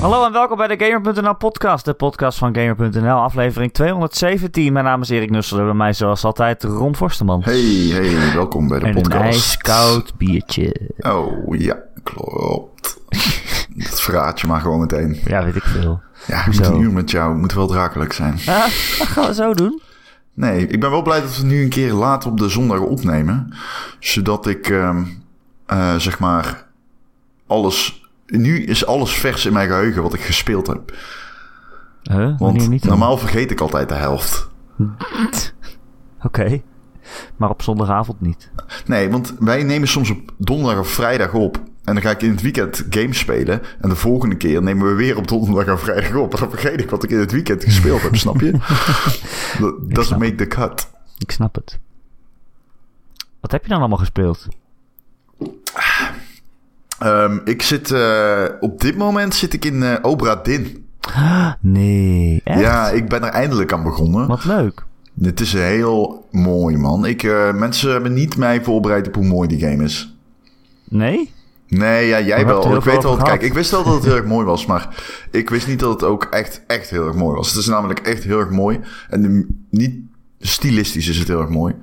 Hallo en welkom bij de Gamer.nl podcast, de podcast van Gamer.nl, aflevering 217. Mijn naam is Erik Nusselder, bij mij zoals altijd Ron Forsterman. Hey, hey, welkom bij de en een podcast. ijskoud biertje. Oh, ja, klopt. Dat verraad je maar gewoon meteen. Ja, weet ik veel. Ja, ik Hoezo? moet nu met jou, moet wel drakelijk zijn. Ah, dat gaan we zo doen. Nee, ik ben wel blij dat we het nu een keer later op de zondag opnemen. Zodat ik, ehm, eh, zeg maar, alles... Nu is alles vers in mijn geheugen wat ik gespeeld heb. Huh? Wanneer Want niet dan? normaal vergeet ik altijd de helft. Oké, maar op zondagavond niet. Nee, want wij nemen soms op donderdag of vrijdag op. En dan ga ik in het weekend games spelen. En de volgende keer nemen we weer op donderdag en vrijdag op. En dan vergeet ik wat ik in het weekend gespeeld heb, snap je? Dat doesn't snap. make the cut. Ik snap het. Wat heb je dan allemaal gespeeld? Ehm, ik zit, eh, op dit moment zit ik in eh Obra Din. Nee, echt? Ja, ik ben er eindelijk aan begonnen. Wat leuk. Dit is heel mooi, man. Ik, eh, mensen hebben niet mij voorbereid op hoe mooi die game is. Nee? Nee, ja, jij hebt er wel. heel Ik veel weet wel. over Kijk, gehad. ik wist wel dat het heel erg mooi was, maar ik wist niet dat het ook echt, echt heel erg mooi was. Het is namelijk echt heel erg mooi. En de- niet stilistisch is het heel erg mooi.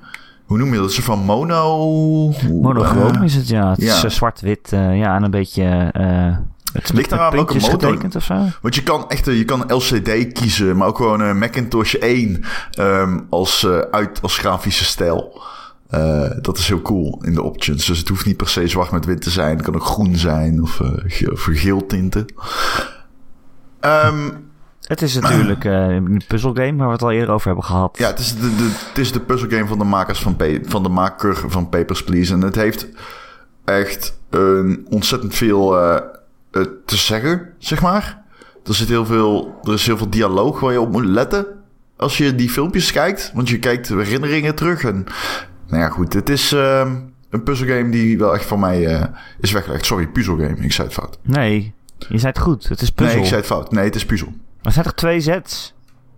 Hoe noem je dat? Ze van mono. hoe- Monochroom eh, is het, ja. Het ja. is eh, zwart-wit eh, ja, en een beetje... eh het is met- met Ligt eraan welke puntjes motor- getekend of zo. want je kan echt, eh, je kan LCD kiezen, maar ook gewoon een Macintosh 1 ehm, als, eh, uit, als grafische stijl. Eh, dat is heel cool in de options. Dus het hoeft niet per se zwart met wit te zijn. Het kan ook groen zijn of, eh, ge- of geel tinten. Ehm Het is natuurlijk eh, een puzzelgame waar we het al eerder over hebben gehad. Ja, het is de, de, het is de puzzelgame van de makers van, Pa- van de maker van Papers, Please. En het heeft echt een ontzettend veel eh, eh, te zeggen, zeg maar. Er, zit heel veel, er is heel veel dialoog waar je op moet letten als je die filmpjes kijkt. Want je kijkt de herinneringen terug. En nou ja, goed, het is ehm, een puzzelgame die wel echt van mij eh, is weggelegd. Sorry, puzzelgame. Ik zei het fout. Nee, je zei het goed. Het is puzzel. Nee, ik zei het fout. Nee, het is puzzel. Er zijn toch twee zets?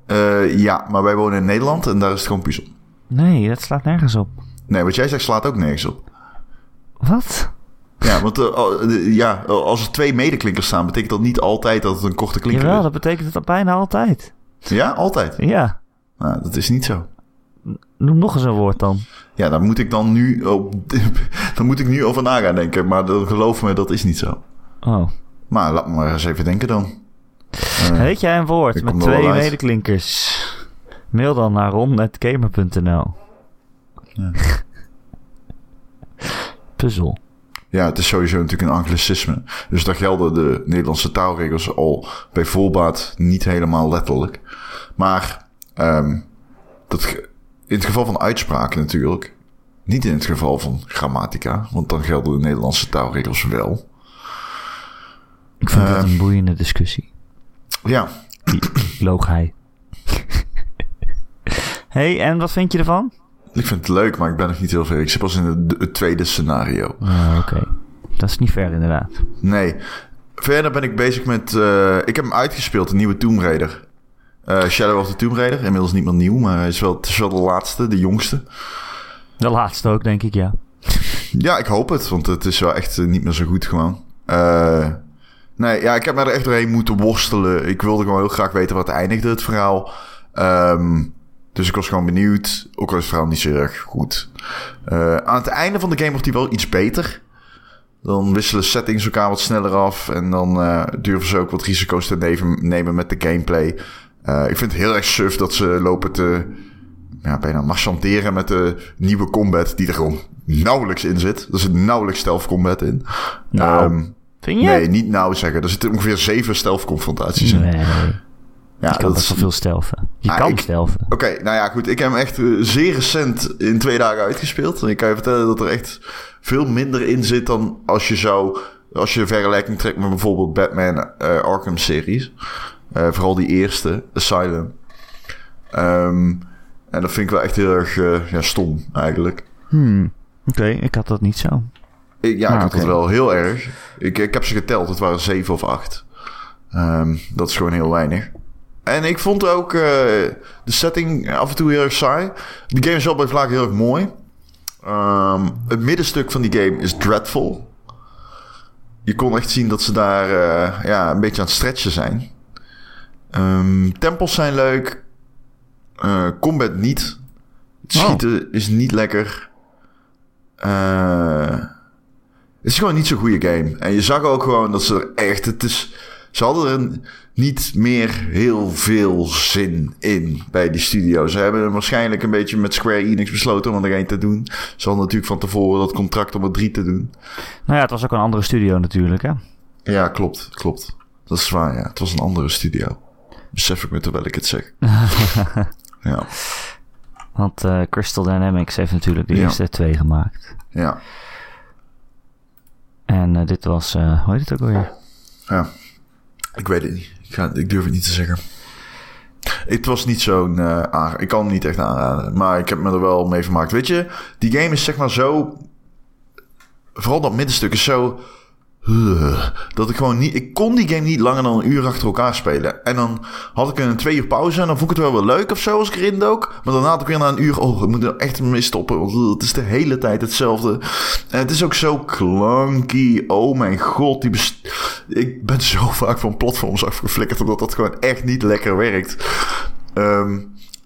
Eh, ja, maar wij wonen in Nederland en daar is het gewoon puzzel. Nee, dat slaat nergens op. Nee, wat jij zegt slaat ook nergens op. Wat? Ja, want eh, al- eh, ja, als er twee medeklinkers staan, betekent dat niet altijd dat het een korte klinker Jawel, dat betekent het al bijna altijd. is. Ja, altijd. Ja, Nou, dat is niet zo. noem nog eens een woord dan. Ja, daar moet ik dan nu, op, daar moet ik nu over na gaan denken. Maar dat- geloof me, dat is niet zo. Oh. Maar laat me maar eens even denken dan. Eh, Weet jij een woord ik met kom er wel twee uit. medeklinkers? Mail dan naar ron.gamer.nl Ja. Puzzel. Ja, het is sowieso natuurlijk een anglicisme. Dus daar gelden de Nederlandse taalregels al bij voorbaat niet helemaal letterlijk. Maar ehm, dat, ge- in het geval van uitspraken natuurlijk. Niet in het geval van grammatica, want dan gelden de Nederlandse taalregels wel. Ik vind Eh. dat een boeiende discussie. Ja, Loog hij. hey, en wat vind je ervan? ik vind het leuk, maar ik ben nog niet heel ver. Ik zit pas in het, het tweede scenario. Ah, Oké, dat is niet ver inderdaad. Nee. Verder ben ik bezig met... eh, ik heb hem uitgespeeld, de nieuwe Tomb Raider. Eh, Shadow of the Tomb Raider. Inmiddels niet meer nieuw, maar hij is wel, het is wel de laatste, de jongste. De laatste ook, denk ik, ja. Ja, ik hoop het, want het is wel echt eh, niet meer zo goed gewoon. Eh, nee, ja, ik heb me er echt doorheen moeten worstelen. Ik wilde gewoon heel graag weten wat eindigde het verhaal. Ehm, dus ik was gewoon benieuwd. Ook al is het verhaal niet zo erg goed. Eh, aan het einde van de game wordt die wel iets beter. Dan wisselen settings elkaar wat sneller af. En dan eh, durven ze ook wat risico's te neven- nemen met de gameplay. Eh, ik vind het heel erg suf dat ze lopen te ja, bijna marchanteren met de nieuwe combat die er gewoon nauwelijks in zit. Er zit nauwelijks stealth combat in. Nou, Ehm, Vind je? nee, niet nauw zeggen. Er zitten ongeveer zeven stealth confrontaties in. Nee, je kan Ja, Ah, dat best is... wel veel stelven. Je Ah, kan ik- stelven. Oké, nou ja, goed. Ik heb hem echt eh, zeer recent in twee dagen uitgespeeld. En ik kan je vertellen dat er echt veel minder in zit dan als je zou... Als je een vergelijking trekt met bijvoorbeeld Batman eh, Arkham series. Eh, vooral die eerste, Asylum. Ehm, en dat vind ik wel echt heel erg eh, ja, stom eigenlijk. Hmm. Oké, ik had dat niet zo. Ik, ja, Ah, ik had oké. het wel heel erg. Ik, ik heb ze geteld. Het waren zeven of acht. Ehm, dat is gewoon heel weinig. En ik vond ook eh, de setting af en toe heel erg saai. De game is wel bij vlak heel erg mooi. Ehm, het middenstuk van die game is dreadful. je kon echt zien dat ze daar eh, ja, een beetje aan het stretchen zijn. Ehm, tempels zijn leuk. Eh, combat niet. Het Oh. schieten is niet lekker. Eh, het is gewoon niet zo'n goede game. En je zag ook gewoon dat ze er echt... Het is, ze hadden er niet meer heel veel zin in bij die studio. Ze hebben waarschijnlijk een beetje met Square Enix besloten om er één te doen. Ze hadden natuurlijk van tevoren dat contract om er drie te doen. Nou ja, het was ook een andere studio natuurlijk, hè? Ja, klopt, klopt. Dat is waar, ja. Het was een andere studio. Besef ik me terwijl ik het zeg. ja, Want eh, Crystal Dynamics heeft natuurlijk de Ja. eerste twee gemaakt. ja, En eh, dit was, eh, hoe heet het ook alweer? ja. Ik weet het niet. Ik, ga, ik durf het niet te zeggen. Het was niet zo'n... eh aanra- ik kan hem niet echt aanraden. Maar ik heb me er wel mee vermaakt. Weet je, die game is zeg maar zo... Vooral dat middenstuk is zo... Huh, dat ik gewoon niet... Ik kon die game niet langer dan een uur achter elkaar spelen. En dan had ik een twee uur pauze en dan vond ik het wel weer leuk of zo als ik erin dook. Maar daarna had ik weer na een uur... Oh, ik moet er echt mee stoppen. Want uh, het is de hele tijd hetzelfde. En het is ook zo clunky. Oh mijn god. Die bes- ik ben zo vaak van platforms afgeflikkerd omdat dat gewoon echt niet lekker werkt. Ehm,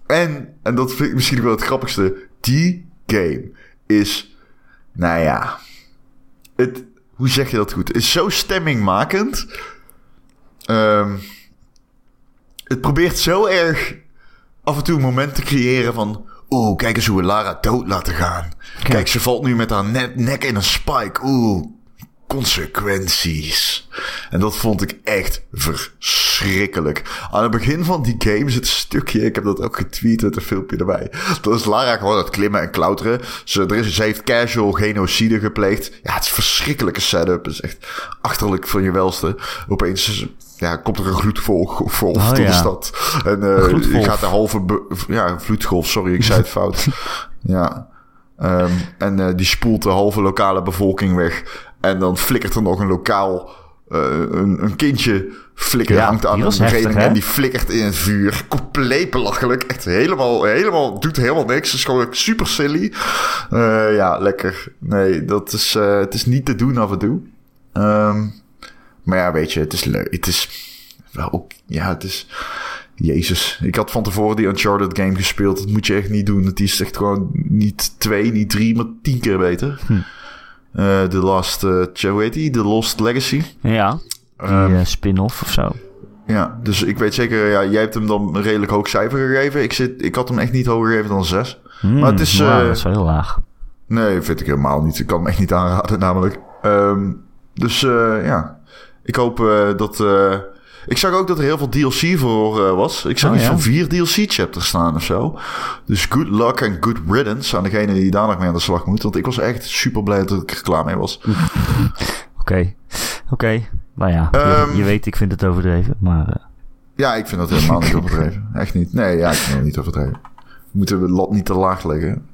en, en dat vind ik misschien wel het grappigste. Die game is... Nou ja... Het, hoe zeg je dat goed? Is zo stemmingmakend. Ehm, het probeert zo erg af en toe een moment te creëren van... Oeh, kijk eens hoe we Lara dood laten gaan. Kijk, ze valt nu met haar ne- nek in een spike. Oeh, consequenties. En dat vond ik echt verschrikkelijk. Aan het begin van die game zit een stukje... Ik heb dat ook getweet met een filmpje erbij. Dat is Lara gewoon aan het klimmen en klauteren. Ze, er is, ze heeft casual genocide gepleegd. Ja, het is een verschrikkelijke setup. Het is echt achterlijk van je welste. Opeens ja, komt er een gloedvolg voor Oh, door de ja. stad. En eh, Gloedgolf. je gaat de halve... be- Ja, een vloedgolf, sorry, ik zei het fout. Ja. Ehm, en eh, die spoelt de halve lokale bevolking weg. En dan flikkert er nog een lokaal... eh, een, een kindje flikker Ja, hangt aan die een was heftig, regeling hè? en die flikkert in het vuur. Compleet belachelijk. Echt helemaal, helemaal, doet helemaal niks. Is gewoon super silly. Eh, ja, lekker. Nee, dat is, eh, het is niet te doen af en toe. Ehm, maar ja, weet je, het is leuk. Het is wel ook, ja, het is... Jezus, ik had van tevoren die Uncharted game gespeeld. Dat moet je echt niet doen. Het is echt gewoon niet twee, niet drie, maar tien keer beter. Hm. Eh, The Last, eh, tja, hoe heet die? The Lost Legacy. Ja, die Ehm, eh, spin-off of zo. ja, dus ik weet zeker, ja, jij hebt hem dan een redelijk hoog cijfer gegeven. Ik, zit, ik had hem echt niet hoger gegeven dan 6. Hmm, maar het is, wauw, eh, dat is wel heel laag. Nee, vind ik helemaal niet. Ik kan hem echt niet aanraden, namelijk. Ehm, dus eh, ja, ik hoop eh, dat. eh, ik zag ook dat er heel veel DLC voor eh, was. Ik zag Oh, iets ja. van vier DLC-chapters staan of zo. Dus good luck en good riddance aan degene die daar nog mee aan de slag moet. Want ik was echt super blij dat ik er klaar mee was. Oké, oké. Nou ja, je- Ehm, je, weet, ik vind het overdreven, maar... eh, Ja, ik vind dat helemaal niet overdreven. Echt niet. Nee, ja, ik vind dat niet overdreven. We moeten de lat niet te laag leggen.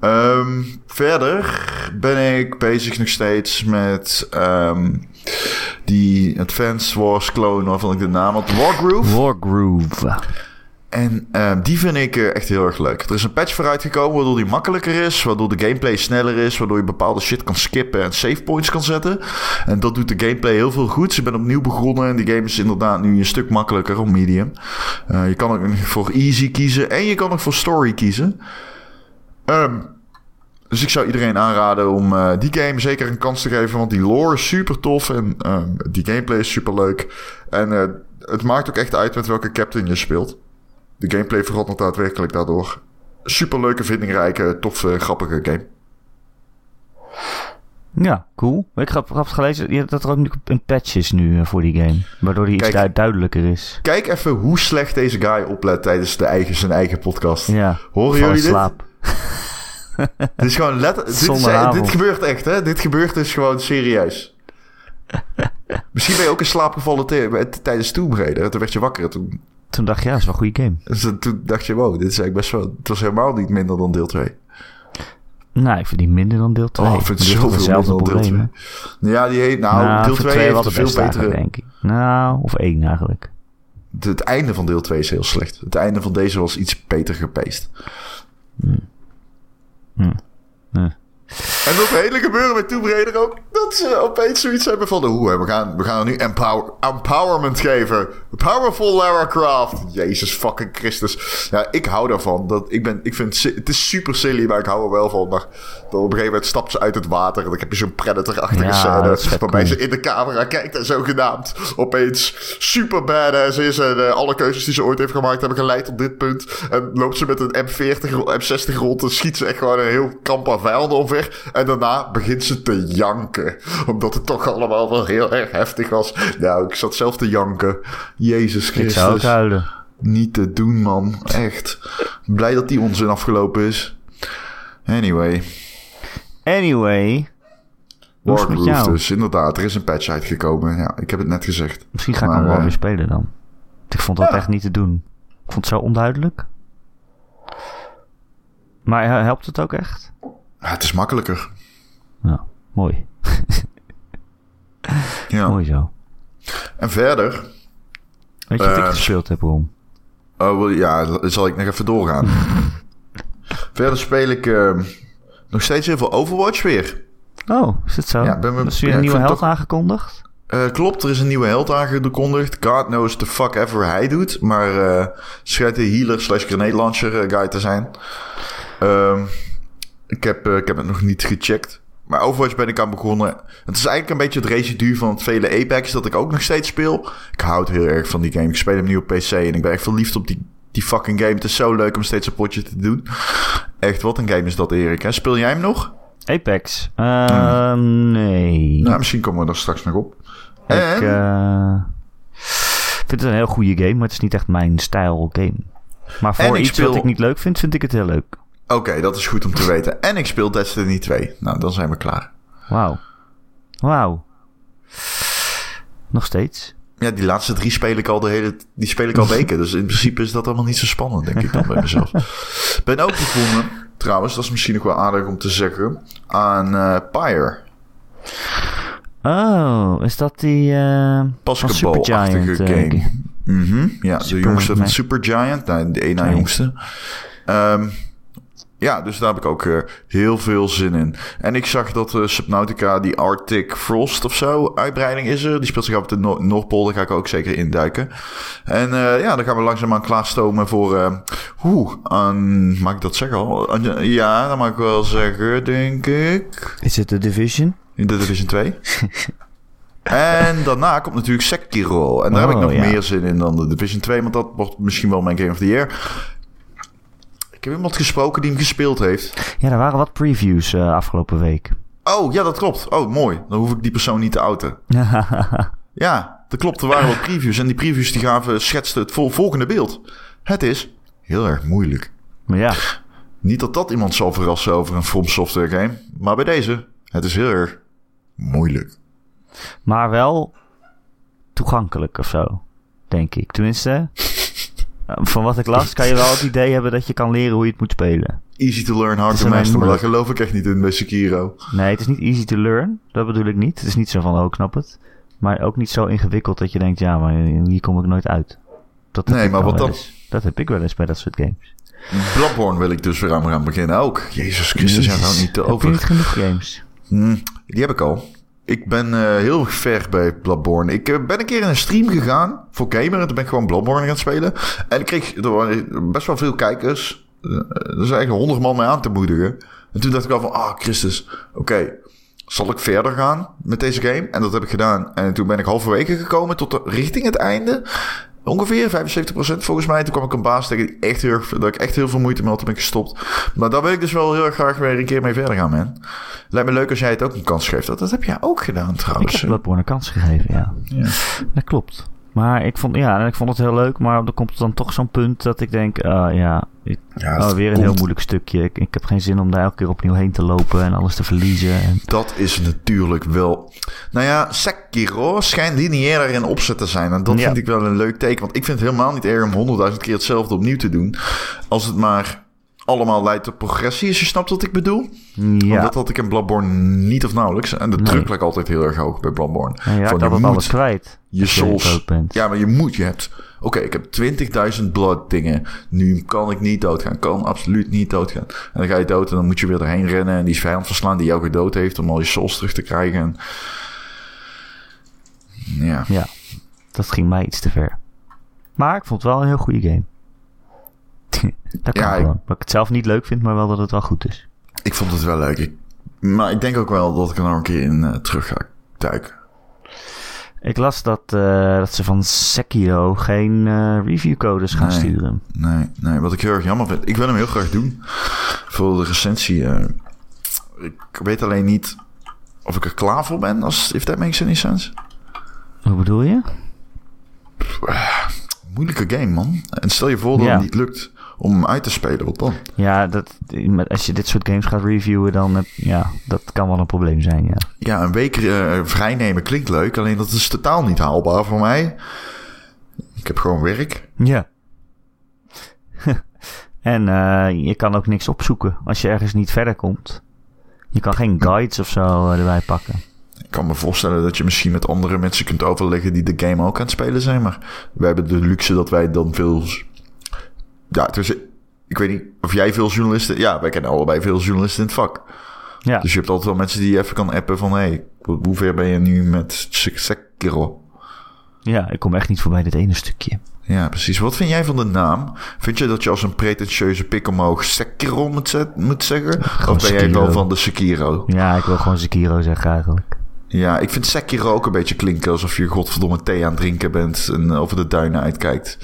Ehm, verder ben ik bezig nog steeds met ehm, die Advanced Wars clone, waarvan ik de naam had, Wargroove. Wargroove. En ehm, die vind ik eh, echt heel erg leuk. Er is een patch voor uitgekomen waardoor die makkelijker is. Waardoor de gameplay sneller is. Waardoor je bepaalde shit kan skippen en save points kan zetten. En dat doet de gameplay heel veel goed. Ze ben opnieuw begonnen en die game is inderdaad nu een stuk makkelijker op medium. Eh, je kan ook nog voor easy kiezen en je kan ook voor story kiezen. Ehm, dus ik zou iedereen aanraden om eh, die game zeker een kans te geven. Want die lore is super tof en ehm, die gameplay is super leuk. En eh, het maakt ook echt uit met welke captain je speelt. De gameplay verandert daadwerkelijk daardoor. Superleuke, vindingrijke, toffe, grappige game. Ja, cool. Ik heb grappig gelezen je- dat er ook nu een patch is nu eh, voor die game. Waardoor die iets Kijk. du- duidelijker is. Kijk even hoe slecht deze guy oplet tijdens de eigen, zijn eigen podcast. Ja, Horen val in jullie dit? slaap. Dit is gewoon letter- dit, is, eh, Zondagavond. dit gebeurt echt, hè? Dit gebeurt dus gewoon serieus. Misschien ben je ook in slaap gevallen te- tijdens Tomb Raider. Toen werd je wakker. Toen, Toen dacht ik, ja, is wel een goede game. dus toen dacht je, wow, dit is eigenlijk best wel... Het was helemaal niet minder dan deel 2. Nou, ik vind die minder dan deel 2. Oh, ik vind het zoveel minder dan deel 2. Ja, die heet... Nou, deel 2 heeft een veel betere... denk ik. Nou, of één eigenlijk. De- het einde van deel 2 is heel slecht. Het einde van deze was iets beter gepaced. Hm. Hm. En dat hele gebeuren met Tomb Raider ook. dat ze opeens zoiets hebben van... Oeh, we gaan, we gaan er nu empower, empowerment geven. Powerful Lara Croft. Jezus fucking Christus. Ja, ik hou daarvan. Dat, ik ben, ik vind, si- het is super silly, maar ik hou er wel van. Maar dan op een gegeven moment stapt ze uit het water... en dan heb je zo'n Predator-achtige Ja, scène... dat is vet waarbij cool. ze in de camera kijkt en zogenaamd... opeens super badass is... en eh, alle keuzes die ze ooit heeft gemaakt hebben geleid tot dit punt. En loopt ze met een M40, ro- M60 rond... en schiet ze echt gewoon een heel kamp aan vijanden omver. En daarna begint ze te janken. Omdat het toch allemaal wel heel erg heftig was. Nou, ik zat zelf te janken. Jezus Ik zou ook eh, Christus. huilen. Niet te doen, man. Echt. Blij dat die onzin afgelopen is. Anyway, Anyway. Hoe is het met Wargroove jou? dus. Inderdaad, er is een patch uitgekomen. Ja, ik heb het net gezegd. Misschien ga ik Maar, hem wel eh, weer spelen dan. Want Ik vond dat echt niet te doen. Ik vond het zo onduidelijk. Maar eh, helpt het ook echt? Ja, het is makkelijker. Nou, mooi. Ja. Mooi zo. En verder, Weet je wat ik Eh, gespeeld heb, Ron? oh, wil- ja, l- zal ik nog even doorgaan. verder speel ik ehm, nog steeds heel veel Overwatch weer. Oh, is het zo? Ja, ben me- is weer ja, een ik nieuwe vind held toch- aangekondigd? Eh, klopt, er is een nieuwe held aangekondigd. God knows the fuck ever hij doet. Maar eh schijnt een healer slash grenade launcher eh, guy te zijn. Ehm, ik, heb, eh, ik heb het nog niet gecheckt. Maar Overwatch ben ik aan begonnen. Het is eigenlijk een beetje het residu van het vele Apex dat ik ook nog steeds speel. Ik houd heel erg van die game. Ik speel hem nu op PC en ik ben echt verliefd op die, die fucking game. Het is zo leuk om steeds een potje te doen. Echt, wat een game is dat, Erik. Hè? Speel jij hem nog? Apex? Ehm, Nee. Nou, misschien komen we daar straks nog op. ik eh, vind het een heel goede game, maar het is niet echt mijn stijl game. Maar En voor ik iets speel- wat ik niet leuk vind, vind ik het heel leuk. Oké, dat is goed om te weten. En ik speel Destiny 2. Nou, dan zijn we klaar. Wauw. Wauw. Nog steeds. Ja, die laatste drie speel ik al de hele... Die speel ik al weken. Dus in principe is dat allemaal niet zo spannend, denk ik dan bij mezelf. Ben ook begonnen, trouwens, dat is misschien ook wel aardig om te zeggen, aan eh Pyre. Oh, is dat die... eh, van Basketbal-achtige Supergiant, eh, game. Mhm, ja, Super- de jongste van nee. Supergiant. Nou, de ene na Nee. jongste. Ehm, ja, dus daar heb ik ook eh, heel veel zin in. En ik zag dat eh, Subnautica, die Arctic Frost of zo, uitbreiding is er. Die speelt zich af op de Noor- Noordpool, daar ga ik ook zeker induiken. En eh, ja, dan gaan we langzaamaan klaarstomen voor... eh Oeh, aan- mag ik dat zeggen al? Aan- ja, dat mag ik wel zeggen, denk ik. Is het de Division? In de Division 2. en daarna komt natuurlijk Sekiro. En daar heb ik Oh, nog ja. meer zin in dan de Division 2. Want dat wordt misschien wel mijn Game of the Year. Ik heb iemand gesproken die hem gespeeld heeft. Ja, er waren wat previews eh, afgelopen week. Oh, ja, dat klopt. Oh, mooi. Dan hoef ik die persoon niet te outen. Ja, dat klopt. Er waren wat previews. En die previews die gaven, schetsten het vol- volgende beeld. Het is heel erg moeilijk. maar ja, Niet dat dat iemand zal verrassen over een From Software game. Maar bij deze, het is heel erg moeilijk. maar wel toegankelijk of zo, denk ik. Tenminste, eh, van wat ik las kan je wel het idee hebben dat je kan leren hoe je het moet spelen. Easy to learn, Het hard is to alleen master. Maar daar moeilijk. geloof ik echt niet in bij Sekiro. Nee, het is niet easy to learn. Dat bedoel ik niet. Het is niet zo van, oh, ik snap het. Maar ook niet zo ingewikkeld dat je denkt, ja, maar hier kom ik nooit uit. Dat heb Nee, ik maar wel wat wel dan? eens. Dat heb ik wel eens bij dat soort games. Bloodborne wil ik dus weer aan gaan beginnen ook. Jezus Christus, jij houdt niet te Heb je over. niet genoeg games? Hm, die heb ik al. Ik ben eh, heel ver bij Bloodborne. Ik eh, ben een keer in een stream gegaan voor gamer. En toen ben ik gewoon Bloodborne gaan spelen. En ik kreeg er waren best wel veel kijkers. Eh, Er zijn eigenlijk honderd man mee aan te moedigen. En toen dacht ik al van, ah Christus, oké. Zal ik verder gaan met deze game? En dat heb ik gedaan. En toen ben ik halverwege gekomen tot de, richting het einde. Ongeveer 75% volgens mij. Toen kwam ik een baas tegen die echt heel, erg- dat ik echt heel veel moeite mee had. Toen ben ik gestopt. Maar daar wil ik dus wel heel erg graag weer een keer mee verder gaan, man. Lijkt me leuk als jij het ook een kans geeft. Dat, dat heb jij ook gedaan Ik trouwens. heb Bloodborne een kans gegeven, ja. Ja. Dat klopt. Maar ik vond, ja, en ik vond het heel leuk, maar er komt dan toch zo'n punt dat ik denk, ah ja, ik- Ja, oh, dat weer een komt. heel moeilijk stukje. Ik, ik heb geen zin om daar elke keer opnieuw heen te lopen en alles te verliezen. En, Dat is natuurlijk wel... Nou ja, Sekiro schijnt lineair in opzet te zijn. En dat Ja. vind ik wel een leuk teken. Want ik vind het helemaal niet erg om honderdduizend keer hetzelfde opnieuw te doen. Als het maar allemaal leidt tot progressie, als je snapt wat ik bedoel. Ja, Want dat had ik in Bloodborne niet of nauwelijks. En de Nee. druk lag altijd heel erg hoog bij Bloodborne. en je raakt Van, altijd moet alles kwijt. je als je dood souls. bent. Ja, maar je moet, je hebt... Oké, ik heb 20.000 blood dingen. Nu kan ik niet doodgaan. Kan absoluut niet doodgaan. En dan ga je dood en dan moet je weer erheen rennen... en die vijand verslaan die jou gedood heeft... om al je souls terug te krijgen. En- Ja. Ja, dat ging mij iets te ver. Maar ik vond het wel een heel goede game. dat kan Ja, ik- gewoon. Dat ik het zelf niet leuk vind, maar wel dat het wel goed is. Ik vond het wel leuk. Ik- maar ik denk ook wel dat ik er nog een keer in eh, terug ga duiken. Ik las dat, eh, dat ze van Sekiro geen eh, reviewcodes gaan Nee. sturen. Nee, nee, wat ik heel erg jammer vind. Ik wil hem heel graag doen. Voor de recensie. eh, ik weet alleen niet of ik er klaar voor ben. Als, if that makes any sense. Hoe bedoel je? Moeilijke game, man. En stel je voor dat Ja. het niet lukt om hem uit te spelen. Wat dan? Ja, dat, met- als je dit soort games gaat reviewen, dan heb- ja, dat kan wel een probleem zijn, ja. Ja, een week eh, vrijnemen klinkt leuk. Alleen dat is totaal niet haalbaar voor mij. Ik heb gewoon werk. Ja. en eh, je kan ook niks opzoeken als je ergens niet verder komt. Je kan geen guides of zo eh, erbij pakken. Ik kan me voorstellen dat je misschien met andere mensen kunt overleggen die de game ook aan het spelen zijn. Maar we hebben de luxe dat wij dan veel. Ja, tussen. Ik weet niet of jij veel journalisten. Ja, wij kennen allebei veel journalisten in het vak. Ja. Dus je hebt altijd wel mensen die je even kan appen van: hé, hey, hoe hoe ver ben je nu met Sek- Sekiro? ja, ik kom echt niet voorbij dit ene stukje. Ja, precies. Wat vind jij van de naam? Vind je dat je als een pretentieuze pik omhoog Sekiro moet, zet- moet zeggen? Of ben jij Sekiro. wel van de Sekiro? Ja, ik wil gewoon Sekiro zeggen eigenlijk. Ja, ik vind Sekiro ook een beetje klinken alsof je godverdomme thee aan het drinken bent en eh, over de duinen uitkijkt.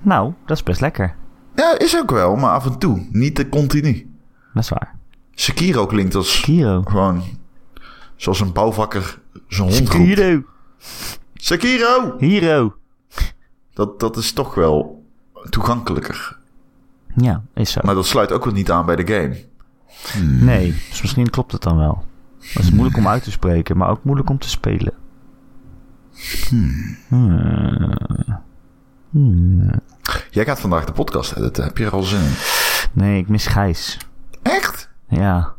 nou, dat is best lekker. Ja, is ook wel, maar af en toe. Niet te continu. Dat is waar. Sekiro klinkt als Sekiro. gewoon... Zoals een bouwvakker zijn hond roept. Sekiro. Sekiro! Hero. Dat, dat is toch wel toegankelijker. Ja, is zo. Maar dat sluit ook wel niet aan bij de game. Nee, dus misschien klopt het dan wel. Dat is moeilijk om uit te spreken, maar ook moeilijk om te spelen. Hmm. Hmm. Jij gaat vandaag de podcast editen. Heb je er al zin in? Nee, ik mis Gijs. Echt? Ja.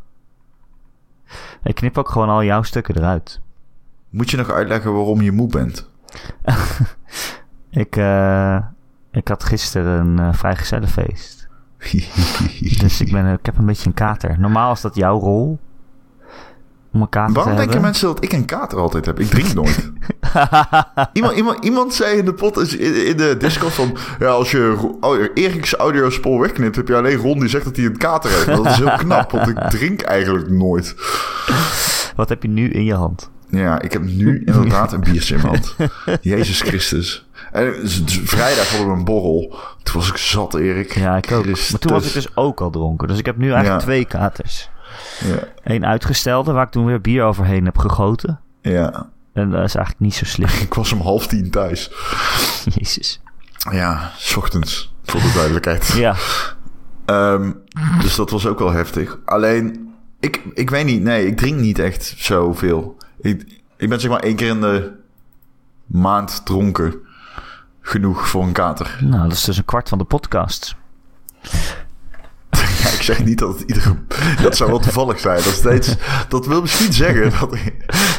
Ik knip ook gewoon al jouw stukken eruit. Moet je nog uitleggen waarom je moe bent? Ik, eh, ik had gisteren een eh, vrijgezellenfeest. Dus ik, ben, eh, ik heb een beetje een kater. Normaal is dat jouw rol. Om een kater Waarom te denken hebben. mensen dat ik een kater altijd heb? Ik drink nooit. iemand, iemand, iemand zei in de, pot, in in de Discord van... Ja, als je Ro- Au- Erik's audiospoor wegknipt... heb je alleen Ron die zegt dat hij een kater heeft. Dat is heel knap, want ik drink eigenlijk nooit. Wat heb je nu in je hand? Ja, ik heb nu inderdaad een biertje in mijn hand. Jezus Christus. En z- z- vrijdag hadden we een borrel. Toen was ik zat, Erik. Ja, ik ook. Maar toen was ik Christus. dus ook al dronken. Dus ik heb nu eigenlijk Ja. twee katers. Ja, Eén uitgestelde, waar ik toen weer bier overheen heb gegoten. ja. En dat is eigenlijk niet zo slim. ik was om half tien thuis. Jezus. Ja, s ochtends. Voor de duidelijkheid. Ja, Ehm, dus dat was ook wel heftig. Alleen, ik, ik weet niet. Nee, ik drink niet echt zoveel. Ik, ik ben zeg maar één keer in de maand dronken. Genoeg voor een kater. nou dat is dus een kwart van de podcast. Ja, ik zeg niet dat het iedere... Dat zou wel toevallig zijn. Dat, steeds, dat wil misschien zeggen dat,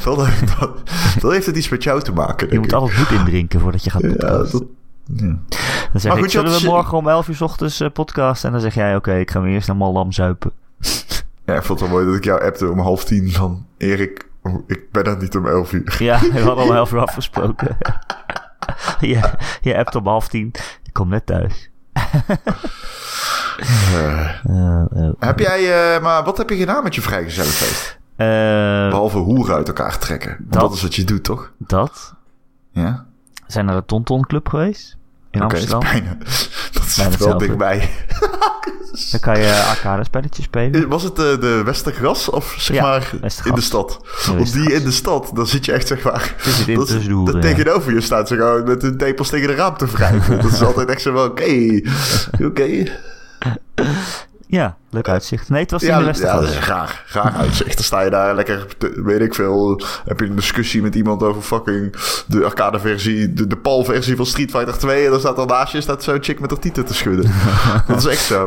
dat, dat... dat heeft het iets met jou te maken, Je denk moet ik. altijd goed indrinken voordat je gaat Ja, podcasten. dat- ja. Dan zeg Maar ik, goed, je zullen had we ze- morgen om 11 uur 's ochtends eh, podcast? En dan zeg jij, oké, ik ga me eerst naar Malam zuipen. ja, ik vond het wel mooi dat ik jou appte om half tien van... Erik, ik ben er niet om elf uur. Ja, we hadden om 11 uur afgesproken. je, je appt om half tien. Ik kom net thuis. Eh, Eh, eh, Heb jij, eh, maar wat heb je gedaan met je vrijgezellenfeest? eh, Behalve hoeren uit elkaar trekken. Want dat- dat, is wat je doet, toch? dat? Ja. Zijn naar de Tonton Club geweest? In Oké, Amsterdam. dat is bijna. Dat zit wel hetzelfde. dichtbij. Dan kan je arcade spelletjes spelen. Was het eh, de Westergras of zeg Ja, maar in de Westergras. stad? Want die in de stad, dan zit je echt zeg maar. Je zit in dat is- tussen de hoeren, dat ja. tegenover je staat ze gewoon met hun tepels tegen de raam te wrijven. dat is altijd echt zo wel oké. Oké. Ja, leuk uitzicht. Nee, het was in Ja, de ja, dat Westergade. is graag. Graag uitzicht. Dan sta je daar lekker, te- weet ik veel. Heb je een discussie met iemand over fucking de arcade-versie, de, de PAL-versie van Street Fighter 2. En dan staat er naast je staat zo'n chick met haar tieten te schudden. dat is echt zo.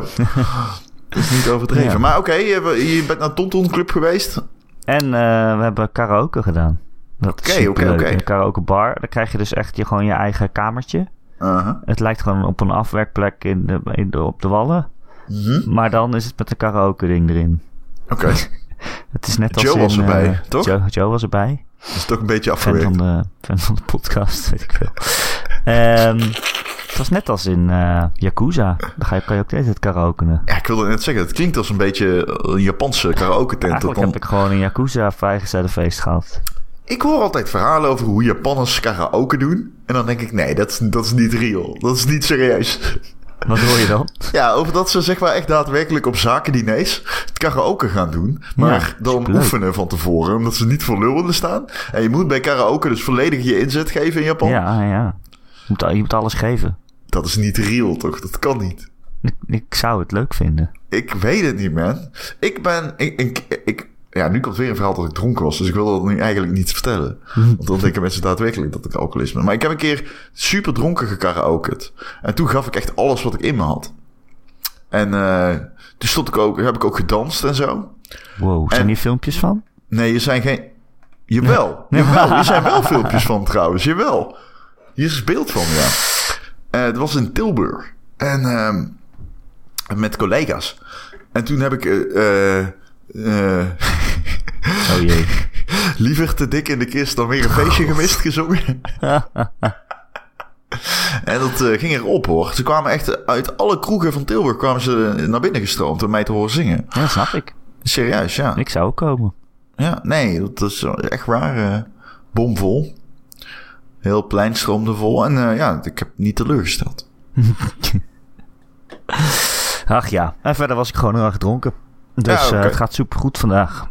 Dat is niet overdreven. Ja. Maar oké, je, je bent naar Tonton Club geweest. En eh, we hebben karaoke gedaan. Dat is Oké, oké, superleuk. oké. Een karaoke bar. Dan krijg je dus echt je, gewoon je eigen kamertje. Uh-huh. Het lijkt gewoon op een afwerkplek in de, in de, op de wallen. Mhm. Maar dan is het met een karaoke ding erin. Oké, Het is net als Joe in, was erbij, eh, toch? Joe, Joe was erbij. dat is toch een beetje Fan afgewerkt. van, de, fan van de podcast, weet ik veel. Ehm, het was net als in eh Yakuza. Dan ga je, kan je ook de hele tijd karaokenen. Ja, ik wilde net zeggen, het klinkt als een beetje een Japanse karaoke-tent. Dat Eigenlijk dan- heb ik gewoon een Yakuza feest gehad. Ik hoor altijd verhalen over hoe Japanners karaoke doen. En dan denk ik, nee, dat, is- dat is niet real. Dat is niet serieus. Wat hoor je dan? Ja, over dat ze zeg maar echt daadwerkelijk op zakendiners het karaoke gaan doen. Maar Ja, dan superleuk. oefenen van tevoren, omdat ze niet voor lul willen staan. En je moet bij karaoke dus volledig je inzet geven in Japan. Ja, ja. Je moet, je moet alles geven. Dat is niet real, toch? Dat kan niet. Ik, ik zou het leuk vinden. Ik weet het niet, man. Ik ben... Ik, ik, ik- ja, nu komt weer een verhaal dat ik dronken was. Dus ik wil dat nu eigenlijk niet vertellen. Want dan denken mensen daadwerkelijk dat ik alcoholist ben. Maar ik heb een keer super dronken gekaraokerd. En toen gaf ik echt alles wat ik in me had. En eh, toen stond ik ook, heb ik ook gedanst en zo. Wow, zijn En- hier filmpjes van? Nee, er zijn geen... Jawel, jawel. Er zijn wel filmpjes van trouwens, jawel. Hier is beeld van, ja. Eh, het was in Tilburg. En ehm, met collega's. En toen heb ik... eh, eh, eh, Oh jee. liever te dik in de kist dan weer een feestje gemist gezongen. en dat eh, ging erop hoor. Ze kwamen echt uit alle kroegen van Tilburg kwamen ze naar binnen gestroomd om mij te horen zingen. Ja, snap ik. Serieus, ja. Ik zou ook komen. Ja, nee, dat is echt waar. eh, bomvol. Heel het plein stroomde vol. En eh, ja, ik heb niet teleurgesteld. Ach ja. En verder was ik gewoon heel erg dronken. Dus Ja, oké. eh, het gaat super goed vandaag.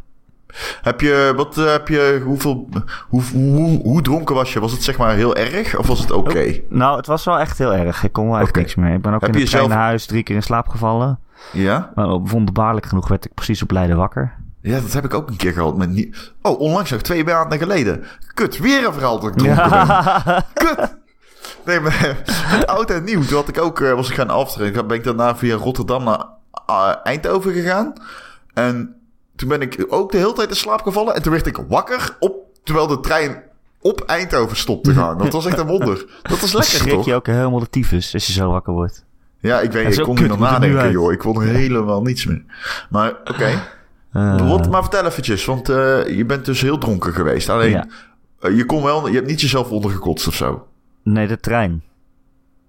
Heb je, wat eh, heb je, hoeveel, hoe, hoe, hoe dronken was je? Was het zeg maar heel erg of was het oké? Nou, het was wel echt heel erg. Ik kon wel echt Oké. niks meer. Ik ben ook Heb in je het zelf- kleine huis drie keer in slaap gevallen. Ja? Maar op- wonderbaarlijk genoeg werd ik precies op Leiden wakker. Ja, dat heb ik ook een keer gehad met niet. Oh, onlangs nog twee maanden geleden. Kut, weer een verhaal dat ik dronken ben. Kut! Nee, maar het oud en nieuw. Toen had ik ook, eh, was ik gaan aftrainen. Ben ik daarna via Rotterdam naar eh, Eindhoven gegaan. En toen ben ik ook de hele tijd in slaap gevallen. En toen werd ik wakker op, terwijl de trein op Eindhoven stopte te gaan. Dat was echt een wonder. Dat is Dan lekker, schrik toch? je ook helemaal de tyfus als je zo wakker wordt. Ja, ik Dat weet, is ik ook kon kut, niet meer moet er nu nadenken, uit. joh. Ik kon helemaal niets meer. Maar oké, Eh, Rot, maar vertel eventjes. Want eh, je bent dus heel dronken geweest. Alleen, Ja. eh, je kon wel, je hebt niet jezelf ondergekotst of zo. Nee, de trein.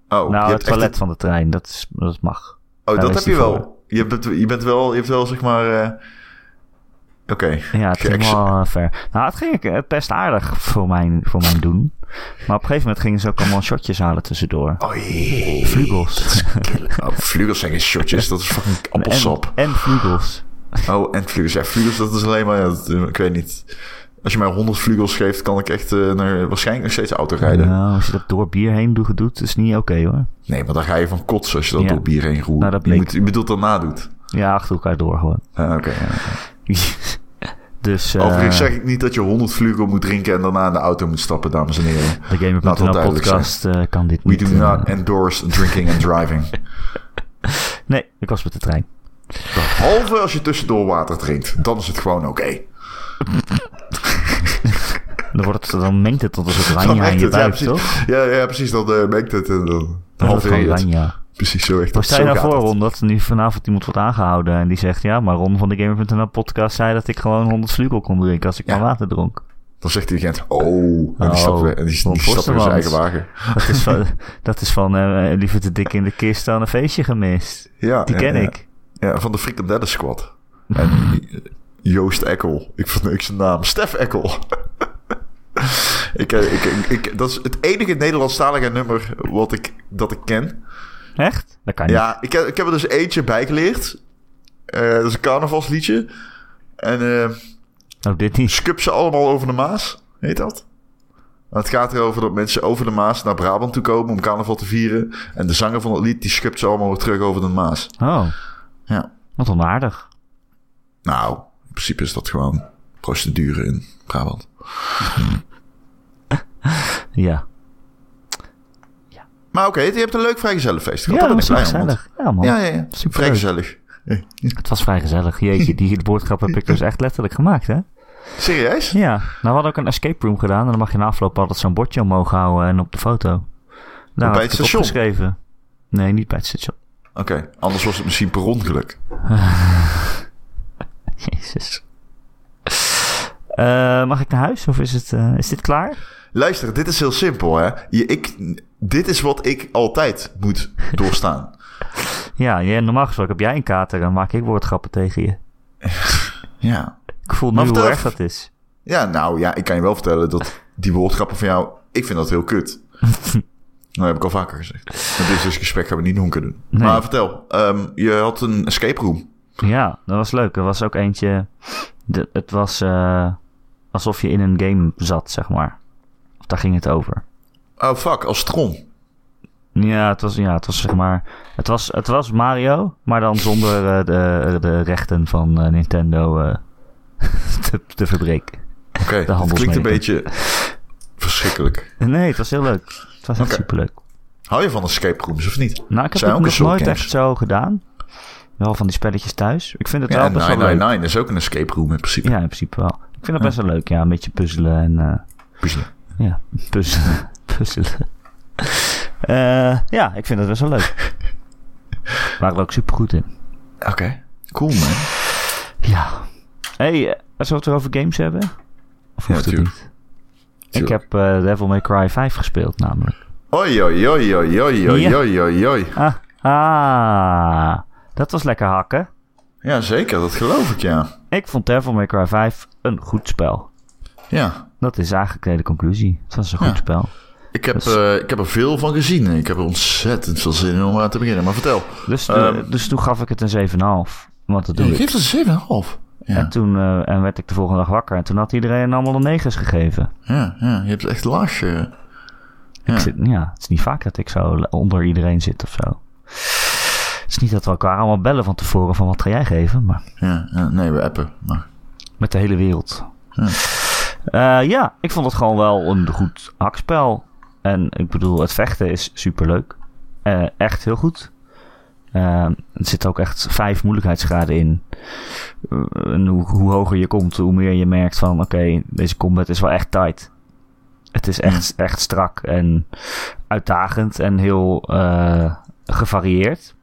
Oh, je nou, hebt het echt toilet een- van de trein. Dat, is, dat mag. Oh, Daar dat heb is je die wel. Je bent, je bent wel, je hebt wel zeg maar. eh, Oké. Ja, het ging Kijk, ze- wel eh, ver. Nou, het ging eh, best aardig voor mijn, voor mijn doen. Maar op een gegeven moment gingen ze ook allemaal shotjes halen tussendoor. Oei. Vlugels. Oh, vlugels zijn geen shotjes, dat is fucking appelsap. En, en vlugels. Oh, en vlugels. Ja, vlugels, dat is alleen maar. ja, dat, eh, ik weet niet. Als je mij 100 vlugels geeft, kan ik echt eh, naar, waarschijnlijk nog steeds auto rijden. Nou, als je dat door bier heen doet, doet is niet oké hoor. Nee, maar dan ga je van kotsen als je dat Ja. door bier heen roert. Nou, dat je, bleek. moet, je bedoelt daarna doet. Ja, achter elkaar door gewoon. Ah, Oké. ja. dus eh, Overigens zeg ik niet dat je 100 vlugel moet drinken en daarna in de auto moet stappen, dames en heren. de laat dat Gamer.nl duidelijk podcast eh, kan dit We niet. do eh, not endorse drinking and driving. nee, ik was met de trein. Behalve als je tussendoor water drinkt. Dan is het gewoon oké. Dan, wordt het, dan mengt het tot een soort Dan ranja in echt je het, ja, buik, toch? precies. Ja, ja, precies. Dan eh, mengt het en dan Dan wordt het halveer je gewoon het. ranja. Precies zo echt. Waar sta je Zo nou gaat voor, het. Ron? Dat er nu vanavond iemand wordt aangehouden en die zegt... Ja, maar Ron van de Gamer.nl podcast zei dat ik gewoon 100 vlugel kon drinken als ik Ja. maar water dronk. Dan zegt die agent, oh. En Oh, die stapt weer, en die, Ron die stapt weer in zijn Forstemans. eigen wagen. Dat is van, dat is van eh, liever te dik in de kist dan een feestje gemist. Ja, Die ja, ken ja. ik. Ja, van de Frikandellen Squad. En eh, Joost Eckel. Ik verneuk zijn naam. Stef Eckel. ik, eh, ik, ik, ik- dat is het enige Nederlandstalige nummer wat ik, dat ik ken. Echt? Dat kan niet. Ja, ik, heb- ik heb er dus eentje bij geleerd. Eh, dat is een carnavalsliedje. En eh, Oh, dit niet. Skup ze allemaal over de Maas, heet dat? Het gaat erover dat mensen over de Maas naar Brabant toe komen om carnaval te vieren. En de zanger van het lied, die skupt ze allemaal weer terug over de Maas. Oh. Ja. Wat onaardig. Nou, in principe is dat gewoon procedure in Brabant. Ja. Maar oké, je hebt een leuk vrijgezellenfeest gehad. Ja, hè, dat was in de super Kleinhand. gezellig. Ja, man. Ja, ja, ja. Superleuk. Vrijgezellig. Het was vrij gezellig. Jeetje, die woordgrap heb ik dus echt letterlijk gemaakt, hè? Serieus? Ja. Nou, we hadden ook een escape room gedaan. En dan mag je na afloop altijd zo'n bordje omhoog houden en op de foto. Nou, bij heb het ik station? opgeschreven. Nee, niet bij het station. Oké, anders was het misschien per ongeluk. Jezus. Eh, mag ik naar huis of is, het, eh, is dit klaar? Luister, dit is heel simpel, hè. Je, ik, dit is wat ik altijd moet doorstaan. Ja, jij- normaal gesproken heb jij een kater en maak ik woordgrappen tegen je. ja. Ik voel Maar nu hoe vertel erg even. dat is. Ja, nou ja, ik kan je wel vertellen dat die woordgrappen van jou... Ik vind dat heel kut. dat heb ik al vaker gezegd. Maar dit is gesprek gaan we niet doen kunnen doen. Nee. Maar vertel, ehm, je had een escape room. Ja, dat was leuk. Er was ook eentje. de- het was eh, alsof je in een game zat, zeg maar. Of Daar ging het over. Oh, fuck, als Tron. Ja, het was, ja, het was zeg maar. Het was, het was Mario, maar dan zonder eh, de, de rechten van eh, Nintendo eh, te, te verbreken. Oké, dat handelsmerken. klinkt een beetje verschrikkelijk. Nee, het was heel leuk. Het was echt Oké. superleuk. Hou je van escape rooms of niet? Nou, ik heb Zijn het nog ook een soort nooit games. echt zo gedaan. Wel van die spelletjes thuis. Ik vind het Ja, wel best wel leuk. 999 is ook een escape room in principe. Ja, in principe wel. Ik vind het best wel leuk, ja. Een beetje puzzelen en... eh, Puzzelen. Ja, puzzelen. puzzelen. Eh, ja, ik vind dat best wel leuk. We waren er ook super goed in. Oké, cool man. Ja. hey, eh, zullen we het weer over games hebben? Of Ja, hoeft het tuurlijk. niet? Ik heb eh, Devil May Cry 5 gespeeld namelijk. Oi, oi, oi, oi, oi, oi, Ja. oi, oi, oi. Ah, ah, dat was lekker hakken. Ja, zeker, dat geloof ik, ja. Ik vond Devil May Cry 5 een goed spel. Ja, Dat is eigenlijk de hele conclusie. Het was een goed Ja. spel. ik heb, Dat is- eh, ik heb er veel van gezien. en Ik heb er ontzettend veel zin in om aan te beginnen. Maar vertel. Dus, toen- Ehm. dus toen gaf ik het een 7,5. Want dat doe Je ik. geeft een 7,5. En Ja, toen eh, en werd ik de volgende dag wakker. En toen had iedereen allemaal een negens gegeven. ja, ja, je hebt echt laag. eh. Ja. Ik zit, ja, het is niet vaak dat ik zo le- onder iedereen zit of zo. Het is niet dat we elkaar allemaal bellen van tevoren van wat ga jij geven, maar Ja, ja, nee, we appen. Maar, met de hele wereld. Ja. Eh, ja, ik vond het gewoon wel een goed hakspel. En ik bedoel, het vechten is superleuk. Eh, echt heel goed. Eh, er zitten ook echt vijf moeilijkheidsgraden in. Eh, en hoe, hoe hoger je komt, hoe meer je merkt van... Oké, deze combat is wel echt tight. Het is echt, echt strak en uitdagend en heel eh, gevarieerd.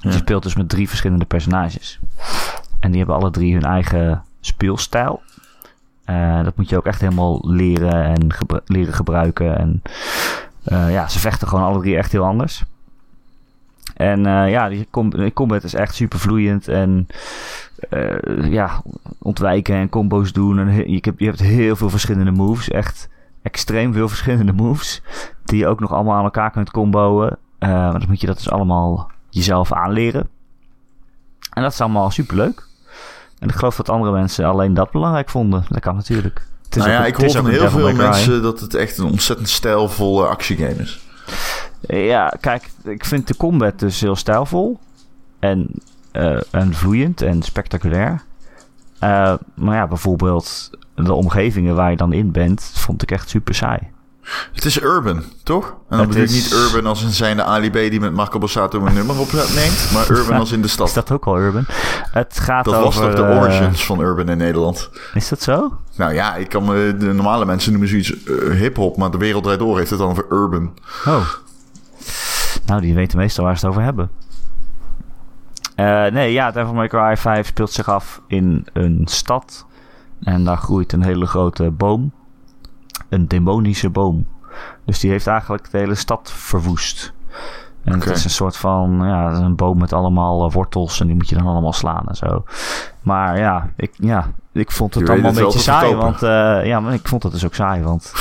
Ja. Je speelt dus met drie verschillende personages. En die hebben alle drie hun eigen speelstijl. Eh, dat moet je ook echt helemaal leren en gebru- leren gebruiken. En eh, ja, ze vechten gewoon alle drie echt heel anders. En eh, ja, die com- die combat is echt super vloeiend. En eh, ja, ontwijken en combo's doen. En he- je, hebt, je hebt heel veel verschillende moves. Echt extreem veel verschillende moves. Die je ook nog allemaal aan elkaar kunt comboen. Eh, maar dan moet je dat dus allemaal jezelf aanleren. En dat is allemaal super leuk. En ik geloof dat andere mensen alleen dat belangrijk vonden. Dat kan natuurlijk. Het is nou ook ja, een- ik het hoor is van ook een heel Devil veel May Cry. mensen dat het echt een ontzettend stijlvolle actiegame is. Ja, kijk, ik vind de combat dus heel stijlvol. En, eh, en vloeiend en spectaculair. Eh, maar ja, bijvoorbeeld de omgevingen waar je dan in bent, vond ik echt super saai. Het is urban, toch? En dan Het bedoel ik is- niet urban als in zijn de Ali B die met Marco Borsato mijn nummer opneemt, maar urban als in de stad. Is dat ook al urban? Het gaat Dat over... was toch de eh, origins van urban in Nederland? is dat zo? Nou ja, ik kan me, de normale mensen noemen zoiets eh, hip-hop, maar de wereld draait door heeft het dan over urban. Oh. Nou, die weten meestal waar ze het over hebben. Eh, nee, ja, Devil May Cry 5 speelt zich af in een stad. En daar groeit een hele grote boom. Een demonische boom. Dus die heeft eigenlijk de hele stad verwoest. En Oké. het is een soort van, ja, het is een boom met allemaal eh, wortels en die moet je dan allemaal slaan en zo. Maar ja, ik, ja, ik vond het Je weet allemaal het een wel beetje te saai, verkopen. want eh, ja, maar ik vond het dus ook saai, want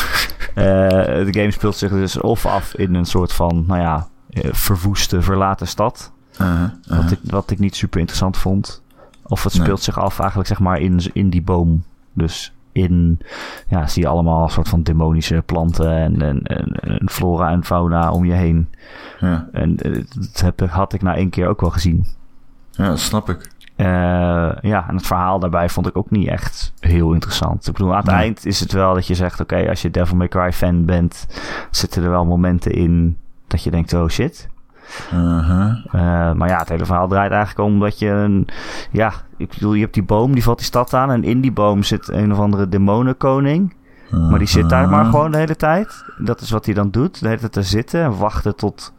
eh, de game speelt zich dus of af in een soort van, nou ja, eh, verwoeste, verlaten stad. Uh-huh, uh-huh. Wat, ik, wat ik niet super interessant vond. Of het Nee. speelt zich af eigenlijk zeg maar in, in die boom. Dus in, ja, zie je allemaal een soort van demonische planten en, en, en, en flora en fauna om je heen. Ja. nou En eh, dat heb, had ik na één keer ook wel gezien. Ja, dat snap ik. Eh, ja, en het verhaal daarbij vond ik ook niet echt heel interessant. Ik bedoel, aan het Nee. eind is het wel dat je zegt... oké, als je Devil May Cry fan bent... zitten er wel momenten in dat je denkt, oh shit. Uh-huh. Eh, maar ja, het hele verhaal draait eigenlijk om dat je... Een, ja, ik bedoel, je hebt die boom, die valt die stad aan... en in die boom zit een of andere demonenkoning... Maar die zit daar maar Uh-huh. gewoon de hele tijd. Dat is wat hij dan doet. De hele tijd daar zitten en wachten tot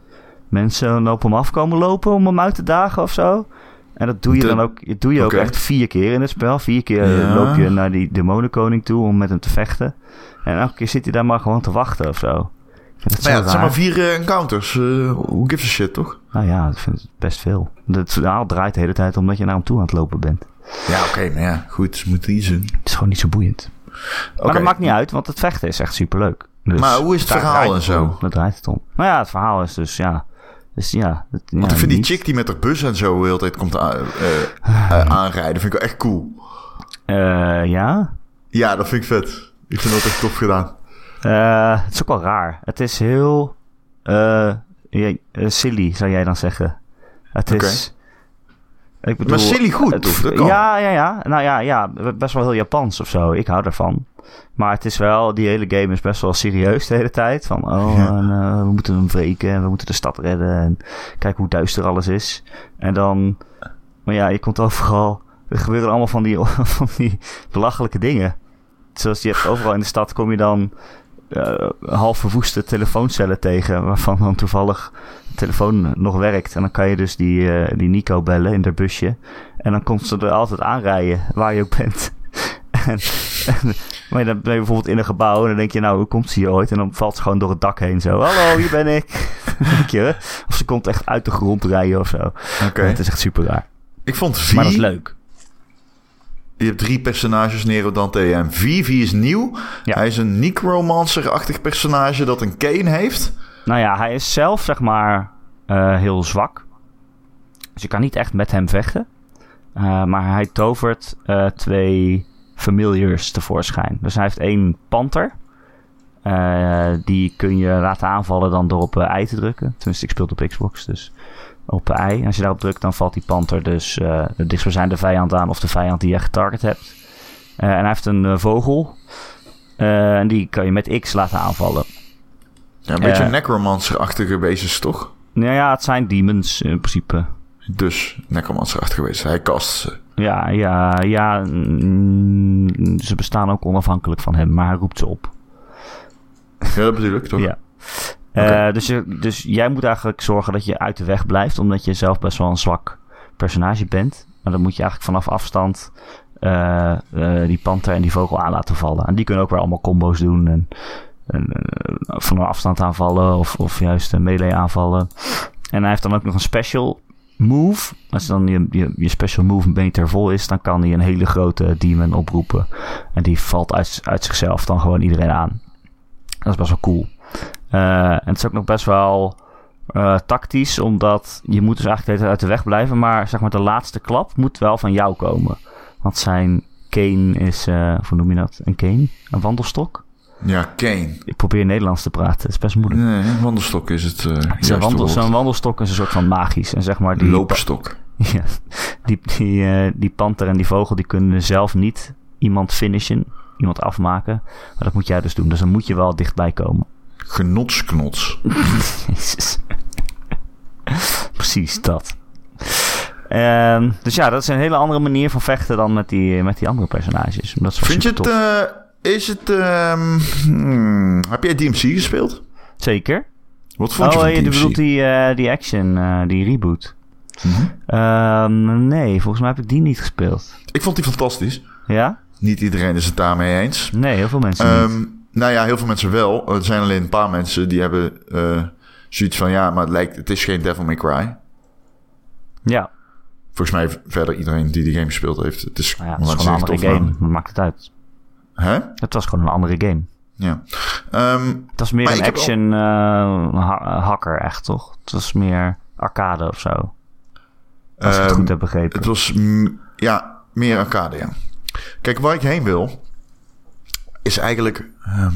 mensen op hem af komen lopen om hem uit te dagen of zo. En dat doe je De- dan ook, dat doe je Oké. ook echt vier keer in het spel. Vier keer eh, Ja. loop je naar die demonenkoning toe om met hem te vechten. En elke keer zit hij daar maar gewoon te wachten of zo. Ik vind dat zo Nou ja, het zijn raar. maar vier eh, encounters. eh who gives a shit, toch? Nou ja, ik vind het best veel. nou, Het verhaal draait de hele tijd omdat je naar hem toe aan het lopen bent. Ja, oké, maar ja, goed, ze moeten kiezen. Het is gewoon niet zo boeiend. Oké. Maar dat maakt niet uit, want het vechten is echt superleuk. Dus Maar hoe is het daar verhaal draait en het zo? om. Daar draait het om. Nou ja, het verhaal is dus, ja... Dus ja, het, ja, Want ik vind niet- die chick die met haar bus en zo de hele tijd komt aan- eh, eh, aanrijden, vind ik wel echt cool. Eh, ja. Ja, dat vind ik vet. Ik vind dat echt tof gedaan. Eh, het is ook wel raar. Het is heel... eh, ja, eh, silly, zou jij dan zeggen. Het is... Ik bedoel, Maar silly goed, het- toch? Dat kan. ja, ja, ja. Nou ja, ja, best wel heel Japans of zo. Ik hou daarvan. Maar het is wel, die hele game is best wel serieus de hele tijd. Van, oh, Ja. en, eh, we moeten hem wreken en we moeten de stad redden. En kijk hoe duister alles is. En dan, maar ja, je komt overal, er gebeuren allemaal van die, van die belachelijke dingen. Zoals je hebt overal in de stad kom je dan eh, half verwoeste telefooncellen tegen. Waarvan dan toevallig de telefoon nog werkt. En dan kan je dus die, eh, die Nico bellen in haar busje. En dan komt ze er altijd aanrijden, waar je ook bent. en, en, maar dan ben je bijvoorbeeld in een gebouw en dan denk je, nou, hoe komt ze hier ooit? En dan valt ze gewoon door het dak heen zo. Hallo, hier ben ik. Weet je, of ze komt echt uit de grond rijden of zo. Oké. Het is echt super raar. Ik vond V. Maar dat is leuk. Je hebt drie personages, Nero Dante en V. V is nieuw. Ja. Hij is een necromancer-achtig personage dat een cane heeft. Nou ja, hij is zelf, zeg maar, eh, heel zwak. Dus je kan niet echt met hem vechten. Eh, maar hij tovert eh, twee familiars tevoorschijn. Dus hij heeft één panter. Eh, die kun je laten aanvallen dan door op eh, I te drukken. Tenminste, ik speel het op Xbox, dus op I. En als je daarop drukt, dan valt die panter dus eh de dichtstbijzijnde vijand aan... of de vijand die je getarget hebt. Eh, en hij heeft een eh, vogel. Eh, en die kan je met X laten aanvallen. Ja, een beetje Eh. een necromancer-achtige wezens, toch? Nou ja, het zijn demons in principe. Dus necromancer-achtige wezens. Hij kast ze. Ja, ja, ja. mm, ze bestaan ook onafhankelijk van hem, maar hij roept ze op. Ja, dat bedoel ik, toch? Ja. Oké. Eh, dus, je- dus jij moet eigenlijk zorgen dat je uit de weg blijft, omdat je zelf best wel een zwak personage bent. Maar dan moet je eigenlijk vanaf afstand eh, eh, die panter en die vogel aan laten vallen. En die kunnen ook weer allemaal combo's doen en, en eh, van een afstand aanvallen of, of juist een melee aanvallen. En hij heeft dan ook nog een special move. Als dan je, je, je special move meter vol is, dan kan hij een hele grote demon oproepen. En die valt uit, uit zichzelf dan gewoon iedereen aan. Dat is best wel cool. Eh, en het is ook nog best wel eh, tactisch, omdat je moet dus eigenlijk de hele tijd uit de weg blijven. Maar zeg maar, de laatste klap moet wel van jou komen. Want zijn cane is, eh hoe noem je dat? Een cane? Een wandelstok? Ja, cane. Ik probeer Nederlands te praten, het is best moeilijk. Nee, een wandelstok is het eh Zijn, juiste wandel, woord. zijn wandelstok is een soort van magisch. En zeg maar die, Loopstok. Ja, die, die, eh, die panter en die vogel die kunnen zelf niet iemand finishen, iemand afmaken. Maar dat moet jij dus doen. Dus dan moet je wel dichtbij komen. Genotsknots. Jezus. Precies dat. Ehm, dus ja, dat is een hele andere manier van vechten dan met die, met die andere personages. Dat is wel Vind je het... supertof. eh, is het... ehm, hmm, heb jij DMC gespeeld? Zeker. Wat eh, vond je oh, van je DMC? bedoelt die, eh, die action, eh, die reboot. Mhm. Ehm, nee, volgens mij heb ik die niet gespeeld. Ik vond die fantastisch. Ja? Niet iedereen is het daarmee eens. Nee, heel veel mensen niet. Ehm, nou ja, heel veel mensen wel. Er zijn alleen een paar mensen die hebben eh, zoiets van... Ja, maar het, lijkt, het is geen Devil May Cry. Ja, Volgens mij heeft verder iedereen die die game gespeeld heeft. Het is, nou ja, laat dat is gewoon zeggen, een andere tof, game. Dat maakt het uit. maar- Hè? Het was gewoon een andere game. Ja. Ehm, Het was meer Maar een ik heb action eh, ha- hacker, echt toch? Het was meer arcade of zo. Als ik het ehm, goed heb begrepen. Het was mm, ja, meer arcade, ja. Kijk, waar ik heen wil, is eigenlijk... ehm,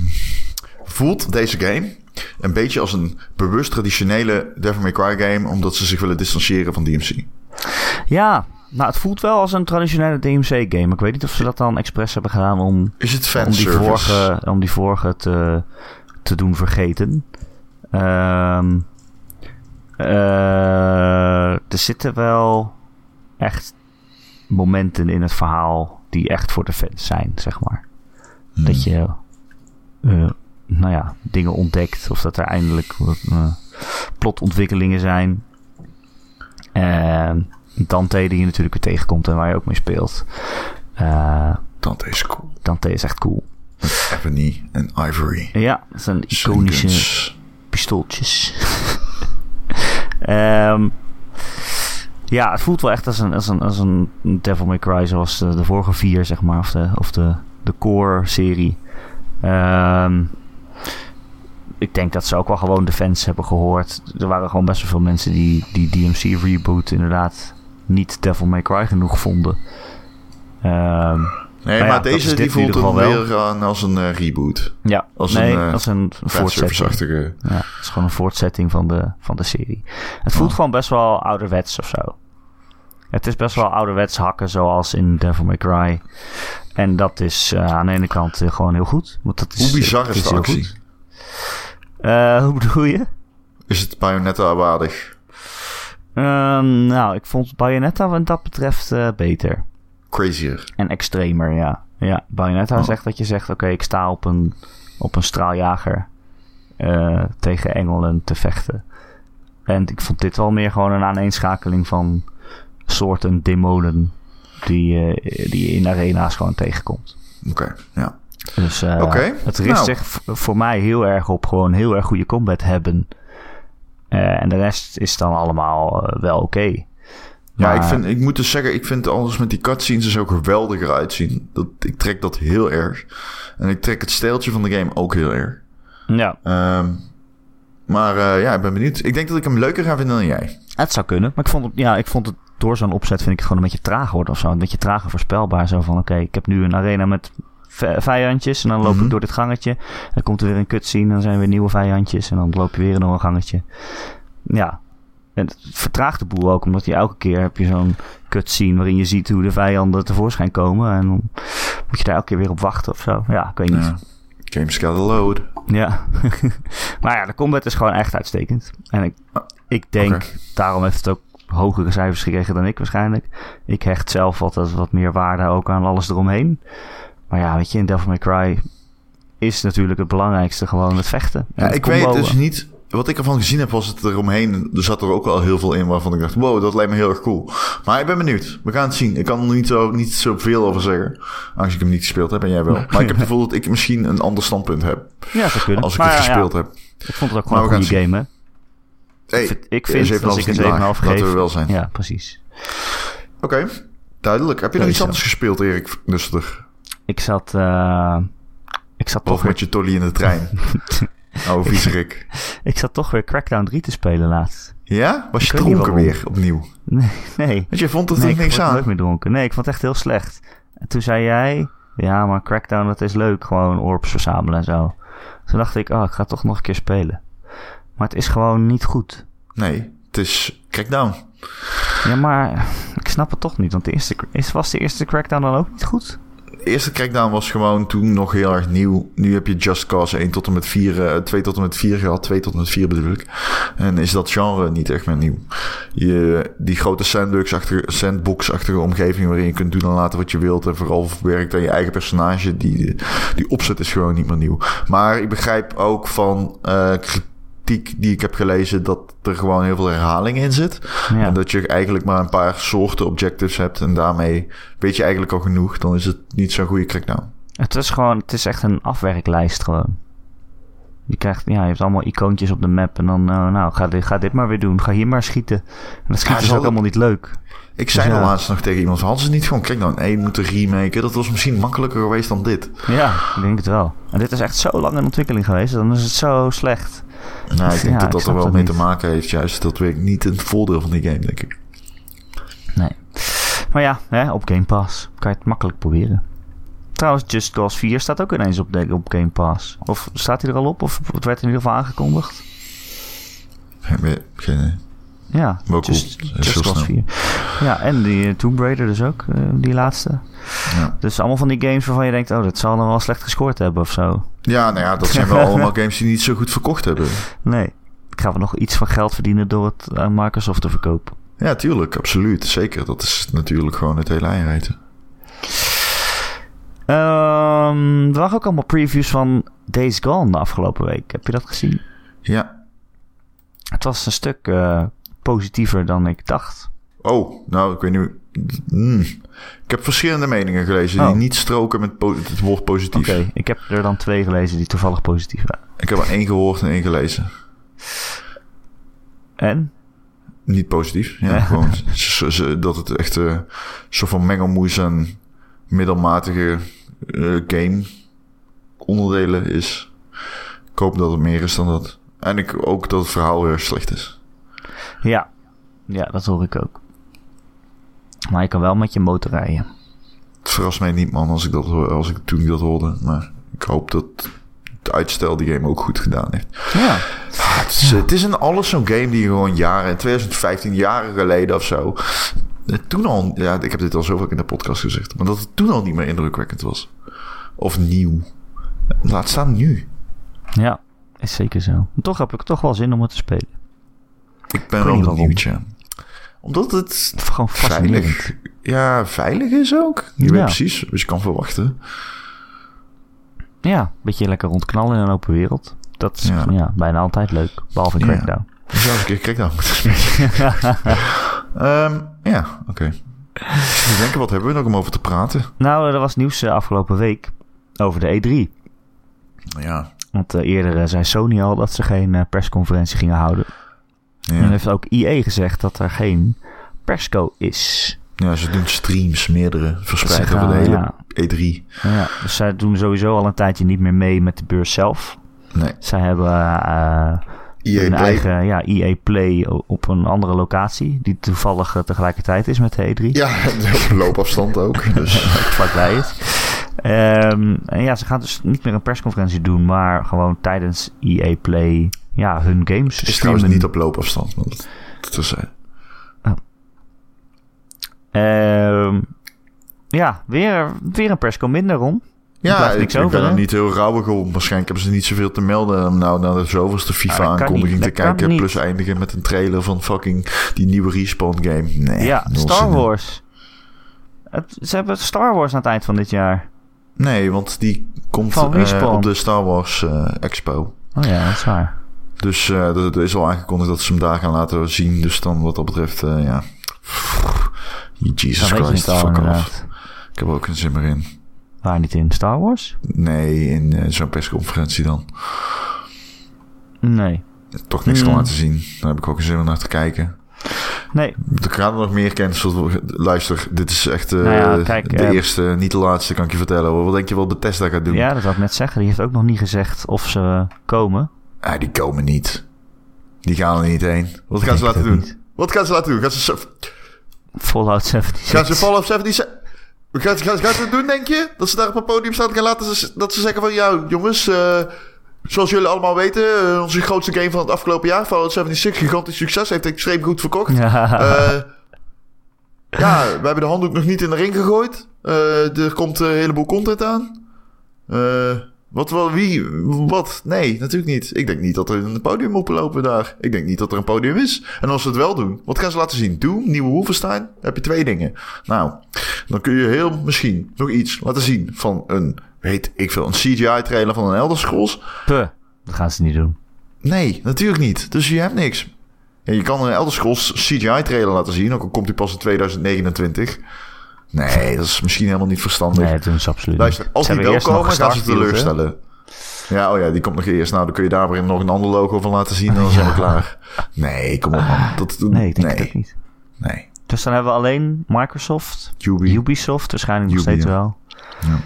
voelt deze game een beetje als een bewust traditionele Devil May Cry game... omdat ze zich willen distancieren van DMC. Ja, nou het voelt wel als een traditionele DMC-game. Ik weet niet of ze dat dan expres hebben gedaan om, Is het om, die, fanservice? vorige, om die vorige te, te doen vergeten. Ehm, eh, er zitten wel echt momenten in het verhaal die echt voor de fans zijn, zeg maar. Hmm. Dat je, eh, nou ja, dingen ontdekt. Of dat er eindelijk wat, eh, plotontwikkelingen zijn. En Dante die je natuurlijk weer tegenkomt en waar je ook mee speelt. Eh, Dat is cool. Dante is echt cool. Ebony en Ivory. Ja, dat zijn iconische Shurikens. pistooltjes. Ehm, ja, het voelt wel echt als een, als een, als een Devil May Cry zoals de, de vorige vier, zeg maar. Of de, of de, de core-serie. Ehm, ik denk dat ze ook wel gewoon de fans hebben gehoord. Er waren gewoon best wel veel mensen die die DMC-reboot inderdaad niet Devil May Cry genoeg vonden. Ehm, Nee, ja, maar dat is deze dit die in ieder voelt dan geval wel. weer aan als een eh, reboot. ja, Als nee, een, eh, als een voortzetting. Fanservice-achtige. Ja, het is gewoon een voortzetting van de, van de serie. Het voelt Oh. gewoon best wel ouderwets of zo. Het is best wel ouderwets hakken zoals in Devil May Cry. En dat is eh, aan de ene kant eh, gewoon heel goed. Want dat is, Hoe bizar het is de heel actie? goed. Eh, hoe bedoel je? Is het Bayonetta waardig? Ehm, nou, ik vond Bayonetta wat dat betreft eh, beter. Crazier. En extremer, ja. Ja, Bayonetta Oh. is echt dat je zegt... Oké, ik sta op een, op een straaljager eh, tegen engelen te vechten. En ik vond dit wel meer gewoon een aaneenschakeling van soorten demonen... die, eh, die je in arena's gewoon tegenkomt. Oké, ja. Dus eh, Oké, het richt nou. zich v- voor mij heel erg op gewoon heel erg goede combat hebben. Eh, en de rest is dan allemaal eh, wel oké. Ja, ik, Maar- vind, ik moet dus zeggen, ik vind alles met die cutscenes er zo geweldiger uitzien. Dat, ik trek dat heel erg. En ik trek het steeltje van de game ook heel erg. Ja, Ehm, maar eh, ja, ik ben benieuwd. Ik denk dat ik hem leuker ga vinden dan jij. Het zou kunnen. Maar ik vond het, ja, ik vond het door zo'n opzet vind ik het gewoon een beetje traag worden of zo. Een beetje trager voorspelbaar. Zo van, oké, ik heb nu een arena met v- vijandjes. En dan loop Mhm. ik door dit gangetje. Dan komt er weer een cutscene. Dan zijn er weer nieuwe vijandjes. En dan loop je weer door een gangetje. Ja. En het vertraagt de boel ook. Omdat je elke keer heb je zo'n cutscene waarin je ziet hoe de vijanden tevoorschijn komen. En dan moet je daar elke keer weer op wachten of zo. Ja, ik weet niet. Ja. Games got a load. Ja. maar ja, de combat is gewoon echt uitstekend. En ik, ik denk, Oké. daarom heeft het ook hogere cijfers gekregen dan ik waarschijnlijk. Ik hecht zelf wat, wat meer waarde ook aan alles eromheen. Maar ja, weet je, in Devil May Cry is natuurlijk het belangrijkste gewoon het vechten. En Ja, het ik weet comboën. dus niet. Wat ik ervan gezien heb, was het eromheen. Er zat er ook wel heel veel in waarvan ik dacht: wow, dat lijkt me heel erg cool. Maar ik ben benieuwd. We gaan het zien. Ik kan er nog niet, zo, niet zoveel over zeggen. Aangezien ik hem niet gespeeld heb en jij wel. Maar ik heb het gevoel dat ik misschien een ander standpunt heb. Ja, zou kunnen. Als ik Maar het ja, ja, gespeeld heb. ik vond het ook gewoon Maar een we gaan goede game, hè. Hey, Ik vind- ik vind, als ik een 7,5 geef... Dat we wel zijn. Ja, precies. Oké, duidelijk. Heb je nog Dat iets is anders gespeeld, Erik Dus Nuster? Ik zat... eh, ik zat toch Of weer met je tolly in de trein? oh, viezerik. Ik zat toch weer Crackdown 3 te spelen laatst. Ja? Was je Ik weet niet dronken waarom. weer opnieuw? Nee, nee. Want je vond er nee, toch ik niks word aan? nooit meer dronken. Nee, ik vond het echt heel slecht. En toen zei jij, ja, maar Crackdown, dat is leuk. Gewoon orbs verzamelen en zo. Toen dacht ik, oh, ik ga toch nog een keer spelen. Maar het is gewoon niet goed. Nee, het is crackdown. Ja, maar ik snap het toch niet. Want de eerste, is, was de eerste Crackdown dan ook niet goed? De eerste crackdown was gewoon toen nog heel erg nieuw. Nu heb je Just Cause 1 tot en met 4, eh 2 tot en met 4 gehad. 2 tot en met 4 bedoel ik. En is dat genre niet echt meer nieuw. Je, die grote sandbox-achtige, sandbox-achtige omgeving waarin je kunt doen en laten wat je wilt. En vooral werkt aan je eigen personage. Die, die opzet is gewoon niet meer nieuw. Maar ik begrijp ook van eh, kritiek die ik heb gelezen dat er gewoon heel veel herhaling in zit. Ja, En dat je eigenlijk maar een paar soorten objectives hebt. En daarmee weet je eigenlijk al genoeg. Dan is het niet zo'n goede crackdown. het is gewoon, het is echt een afwerklijst gewoon. Je krijgt, ja, je hebt allemaal icoontjes op de map. En dan, eh, nou, ga dit, ga dit maar weer doen. Ga hier maar schieten. En dat schieten het is is ook wel- allemaal niet leuk. Ik zei Dus ja. al laatst nog tegen iemand: van, hadden ze niet gewoon crackdown 1 moeten remaken? Dat was misschien makkelijker geweest dan dit. Ja, ik denk het wel. En dit is echt zo lang in ontwikkeling geweest, dan is het zo slecht. Nou, ik Ja, denk dat ik dat er snap wel dat mee niet. te maken heeft. Juist dat werkt niet in het voordeel van die game, denk ik. Nee. Maar ja, hè, op Game Pass kan je het makkelijk proberen. Trouwens, Just Cause 4 staat ook ineens op, de, op Game Pass. Of staat hij er al op? Of het werd in ieder geval aangekondigd? Heb je geen idee. Ja, Wel cool. Just, Heel Just snel. Cause 4. Ja, en die eh, Tomb Raider dus ook, eh, die laatste. Ja. Dus allemaal van die games waarvan je denkt, oh, dat zal dan wel slecht gescoord hebben of zo. Ja, nou ja, dat zijn wel allemaal games die niet zo goed verkocht hebben. Nee, ik ga wel nog iets van geld verdienen door het aan Microsoft te verkopen. Ja, tuurlijk, absoluut. Zeker. Dat is natuurlijk gewoon het hele eieren. Ehm, er waren ook allemaal previews van Days Gone de afgelopen week. Heb je dat gezien? Ja. Het was een stuk eh, positiever dan ik dacht. Oh, nou, ik weet niet. Hmm. Ik heb verschillende meningen gelezen die Oh. niet stroken met po- het woord positief. Oké, ik heb er dan twee gelezen die toevallig positief waren. Ik heb er één gehoord en één gelezen. En? Niet positief. Ja, Ja. gewoon z- z- dat het echt eh soort van mengelmoes en middelmatige eh, game onderdelen is. Ik hoop dat het meer is dan dat. En ik ook dat het verhaal weer slecht is. Ja. Ja, dat hoor ik ook. Maar je kan wel met je motor rijden. Het verrast mij niet, man, als ik dat hoor, als ik toen ik dat hoorde. Maar ik hoop dat het uitstel die game ook goed gedaan heeft. Ja. Ah, Het is, het is in alles zo'n game die je gewoon jaren, in 2015, jaren geleden of zo. eh, Toen al, ja, ik heb dit al zo vaak in de podcast gezegd, maar dat het toen al niet meer indrukwekkend was. Of nieuw. Laat staan nu. Ja, is zeker zo. Maar toch heb ik toch wel zin om het te spelen. Ik ben niet wel waarom. benieuwd, ja. Omdat het Gewoon fascinerend. veilig, ja, veilig is ook. Je Ja. weet precies wat je kan verwachten. Ja, een beetje lekker rondknallen in een open wereld. Dat is Ja. ja. bijna altijd leuk. Behalve in Ja. Crackdown. Ik zou eens een keer Crackdown moeten spelen. Ehm, ja, oké. Ik zit te denken, wat hebben we nog om over te praten? Nou, er was nieuws eh, afgelopen week over de E3. Ja, Want eh, eerder eh, zei Sony al dat ze geen eh, persconferentie gingen houden. En dan ja. heeft ook EA gezegd dat er geen persco is. ja ze doen streams, meerdere, Ze verspreid gaan, over de hele E ja, E3. ja, dus zij doen sowieso al een tijdje niet meer mee met de beurs zelf. Nee. Zij hebben eh, EA hun E Play. eigen ja, EA Play o- op een andere locatie. Die toevallig eh, tegelijkertijd is met de E3. Ja, op loopafstand ook. Dus. vlakbij is. Ehm, en ja, ze gaan dus niet meer een persconferentie doen, maar gewoon tijdens EA Play ja, hun games Het is streamen. trouwens niet op loopafstand. Want dat, dat is, eh, Ehm, ja, weer, weer een persco minder om. ja, blijft ik, niks ik over, ben er hè? niet heel rauwig om. Waarschijnlijk hebben ze niet zoveel te melden. om Nou, naar de zoveelste Ja, dat kan FIFA-aankondiging niet, te dat kan kijken. niet. Plus eindigen met een trailer van fucking die nieuwe Respawn-game. Nee, ja, nul zin Star in. Wars. Het, ze hebben Star Wars aan het eind van dit jaar. Nee, want die komt Van eh, Respawn. op de Star Wars eh, Expo. Oh ja, dat is waar. Dus eh, er er is al aangekondigd dat ze hem daar gaan laten zien. Dus dan wat dat betreft, eh, ja. Dan Jesus weet je Christ, het al, fuck off. inderdaad. Ik heb er ook geen zin meer in. Waar niet in Star Wars? Nee, in eh, zo'n persconferentie dan. Nee. Toch niks kan Mm. laten zien. Daar heb ik ook geen zin om naar te kijken. Nee, Er gaan er nog meer kennis. van- Luister, dit is echt eh, Nou ja, kijk, de eh, eerste, niet de laatste, kan ik je vertellen. hoor. Wat denk je wat Bethesda gaat doen? ja, dat wil ik net zeggen. Die heeft ook nog niet gezegd of ze komen. Ah, die komen niet. Die gaan er niet heen. Wat gaan ze Ik laten denk doen? het niet. Wat gaan ze laten doen? Gaan ze, Fallout 76. gaan ze Fallout 77... Gaan, ze- gaan, ze- gaan ze het doen, denk je? Dat ze daar op een podium staan en gaan laten ze, dat ze zeggen van... Ja, jongens, eh, zoals jullie allemaal weten... eh, onze grootste game van het afgelopen jaar, Fallout 76, gigantisch succes. Heeft extreem goed verkocht. Ja. Eh, ja, we hebben de handdoek nog niet in de ring gegooid. Eh, er komt een heleboel content aan. Eh, wat, wel wie, wat? Nee, natuurlijk niet. Ik denk niet dat er een podium op lopen daar. Ik denk niet dat er een podium is. En als ze het wel doen, wat gaan ze laten zien? Doom, nieuwe Wolfenstein, Dan heb je twee dingen. Nou, dan kun je heel misschien nog iets laten zien van een, weet ik veel, een CGI-trailer van een Elder Scrolls. Puh, dat gaan ze niet doen. Nee, natuurlijk niet. Dus je hebt niks. Ja, je kan een Elder Scrolls CGI-trailer laten zien, ook al komt die pas in 2029. Nee, dat is misschien helemaal niet verstandig. Nee, dat doen ze absoluut Luister, niet. als Ze die wel hebben eerst nog komen, gaan ze Starfield, hè? teleurstellen. Ja, oh ja, die komt nog eerst. Nou, dan kun je daar weer nog een ander logo van laten zien. Dan zijn we klaar. Nee, kom op man. Dat, Nee, ik denk nee, het ook niet. nee. Dus dan hebben we alleen Microsoft, Ubi, Ubisoft waarschijnlijk nog Ubi, steeds ja. wel. Ja.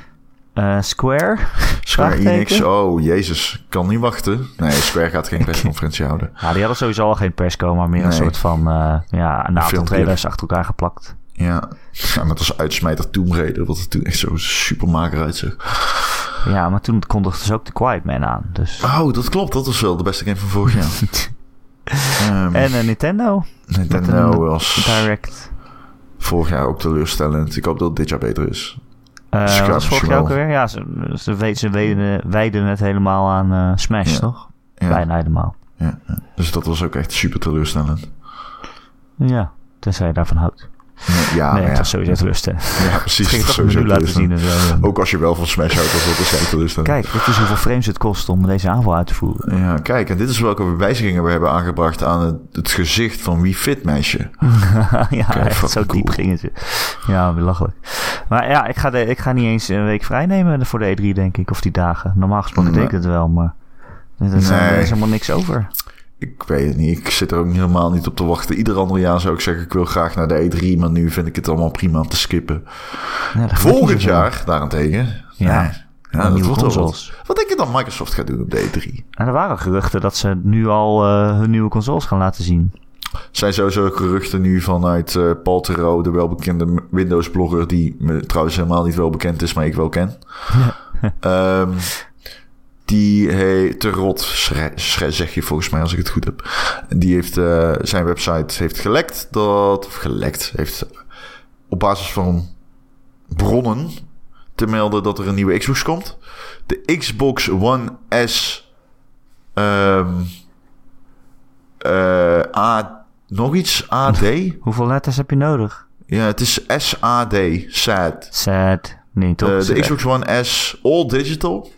Eh, Square. Square vraagteken. Enix. Oh, jezus. Ik Kan niet wachten. Nee, Square gaat geen persconferentie houden. Nou, die hadden sowieso al geen persco, maar meer een Nee. soort van eh ja, een aantal filmpje. trailers achter elkaar geplakt. Ja. ja met als uitsmijter Tomb Raider. Wat er toen echt zo supermaker uitzag. Ja, maar toen Ah, kondigden ze ook de Quiet Man aan. Dus Oh, dat klopt. Dat was wel de beste game van vorig jaar. Ehm, En een Nintendo. met Nintendo een was Direct. vorig jaar ook teleurstellend. Ik hoop dat het dit jaar beter is. Eh, Schuif, was vorig jaar schuif. ook weer? Ja, ze, ze, we- ze wijden, wijden het helemaal aan eh, Smash, Ja. toch? Ja. Bijna helemaal. Ja, ja. Dus dat was ook echt super teleurstellend. Ja, tenzij je daarvan houdt. Ja, Ja, nee, maar het Ah, ja. was sowieso teleurstellend. ja Het precies. ging dat toch is een sowieso menu laten zien teleurstellend. en zo. Ook als je wel van Smash houdt, was dat waarschijnlijk teleurstellend. Kijk, dit is hoeveel frames het kost om deze aanval uit te voeren. Ja, kijk, en dit is welke wijzigingen we hebben aangebracht aan het, het gezicht van Wii Fit meisje. ja, Oké, echt fucking zo diep cool. ging het. Ja, belachelijk. Maar ja, ik ga, de, ik ga niet eens een week vrij nemen voor de E3, denk ik. Of die dagen. Normaal gesproken Nee. deed ik het wel, maar... Er is, er Nee. is helemaal niks over. Ik weet het niet, ik zit er ook helemaal niet op te wachten. Ieder ander jaar zou ik zeggen, ik wil graag naar de E3, maar nu vind ik het allemaal prima om te skippen. Ja, dat Volgend gebeurt niet jaar, daarentegen. Ja. nee, zoveel. ja, dat Nieuwe wordt wel wat. consoles. Wat denk je dat Microsoft gaat doen op de E3? En er waren geruchten dat ze nu al eh, hun nieuwe consoles gaan laten zien. Zijn sowieso geruchten nu vanuit eh Paul Theroux, de welbekende Windows-blogger, die me trouwens helemaal niet wel bekend is, maar ik wel ken. Ehm, die he, te rot, schre- schre- zeg je volgens mij als ik het goed heb. Die heeft eh, zijn website heeft gelekt. Dat, of gelekt heeft op basis van bronnen te melden dat er een nieuwe Xbox komt. De Xbox One S ehm eh, A, nog iets AD. Hoeveel letters heb je nodig? ja, het is SAD, SAD. Sad. Nee, toch? Eh, Sad. de Xbox One S All Digital.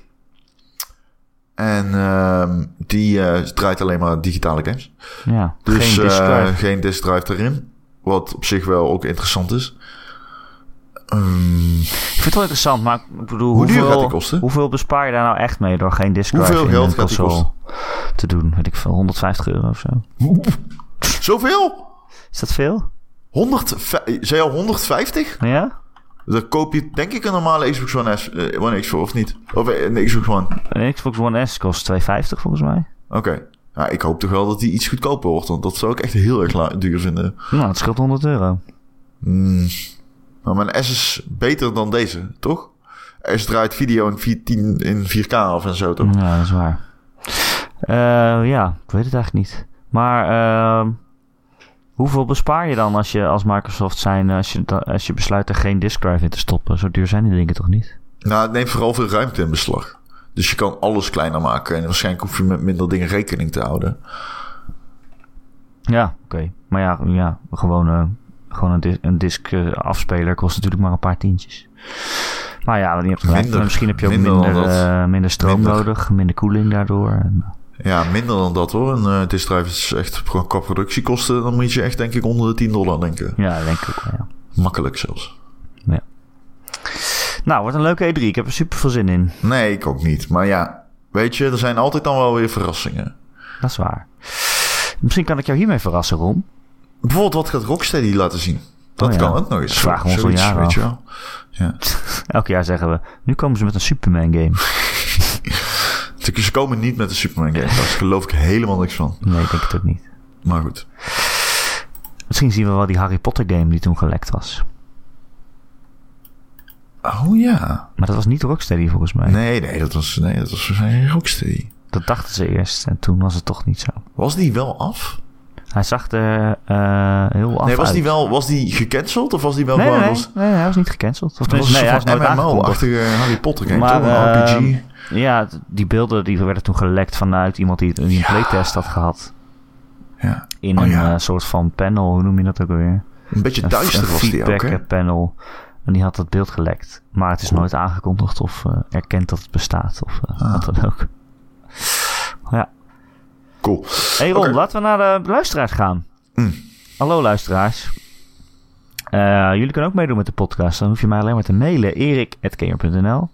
En ehm, die eh, draait alleen maar digitale games. Ja, Dus geen disc eh, drive. geen disk drive erin. Wat op zich wel ook interessant is. Ehm, Ik vind het wel interessant, maar ik bedoel, Hoe duur hoeveel, gaat die kosten? hoeveel bespaar je daar nou echt mee door geen disk drive hoeveel in geld een gaat die console kosten? te doen? Weet ik veel, 150 euro of zo. Zoveel? Is dat veel? 100, zei al 150? Ja? Dan koop je denk ik een normale Xbox One S. eh, One X voor, of niet? Of eh, een Xbox One. Oké. Een Xbox One S kost 250 volgens mij. Ja, ik hoop toch wel dat die iets goedkoper wordt. Want dat zou ik echt heel erg la- duur vinden. Nou, het scheelt 100 euro. Hmm. Maar mijn S is beter dan deze, toch? S draait video in, 4, 10 in 4K of en zo, toch? Ja, dat is waar. Eh, ja, ik weet het eigenlijk niet. Maar ehm, hoeveel bespaar je dan als je als Microsoft zijn, eh, als je, da- als je besluit er geen disk drive in te stoppen? Zo duur zijn die dingen toch niet? Nou, het neemt vooral veel ruimte in beslag. Dus je kan alles kleiner maken. En waarschijnlijk hoef je met minder dingen rekening te houden. Ja, oké. Maar ja, ja gewoon, eh, gewoon een, dis een disc eh, afspeler kost natuurlijk maar een paar tientjes. Maar ja, je hebt gelijk. Minder. Misschien heb je ook Minder minder, dan minder, eh, dat. minder stroom Minder. nodig, minder koeling daardoor. En, Ja, minder dan dat hoor. Een eh, disk drive is echt qua qua productiekosten. Dan moet je echt, denk ik, onder de 10 dollar denken. ja, denk ik ook wel, ja. Makkelijk zelfs. Nou, wordt een leuke E3. Ik heb er super veel zin in. Nee, ik ook niet. Maar ja, weet je, er zijn altijd dan wel weer verrassingen. Dat is waar. Misschien kan ik jou hiermee verrassen, Ron. Bijvoorbeeld, wat gaat Rocksteady laten zien? Dat Oh ja. kan ook nog eens. Dat vragen we ons al Zoiets, jaren weet af. je wel. Ja. Elk jaar zeggen we, nu komen ze met een Superman game. Ze ze komen niet met de Superman game. Daar geloof ik helemaal niks van. Nee, ik denk het ook niet. Maar goed. Misschien zien we wel die Harry Potter game die toen gelekt was. Oh ja. Maar dat was niet Rocksteady volgens mij. Nee, nee, dat was, nee, dat was waarschijnlijk Rocksteady. Dat dachten ze eerst en toen was het toch niet zo. Was die wel af? Hij zag er eh, heel af nee, was uit. die wel was die gecanceld of was die wel Nee, nee, gewoon... nee, als- nee, hij was niet gecanceld. Of Dat was tenminste, nee, hij een is soort nooit van aangekondigd. MMO-achtige eh, Harry Potter game, Maar, toch? Een eh, RPG. Ja, d- die beelden die werden toen gelekt vanuit iemand die het in een Ja. playtest had gehad. Ja. In Oh, een ja. eh, soort van panel, hoe noem je dat ook alweer? Een beetje Een duister f- was die ook, hè? feedback panel. En die had dat beeld gelekt. Maar het is nooit aangekondigd of eh, erkend dat het bestaat. Of eh, Ah. wat dan ook. Ja. Cool. Hey Ron, Oké. laten we naar de luisteraars gaan. Mm. Hallo luisteraars. Eh, jullie kunnen ook meedoen met de podcast. Dan hoef je mij alleen maar te mailen. erik.gamer.nl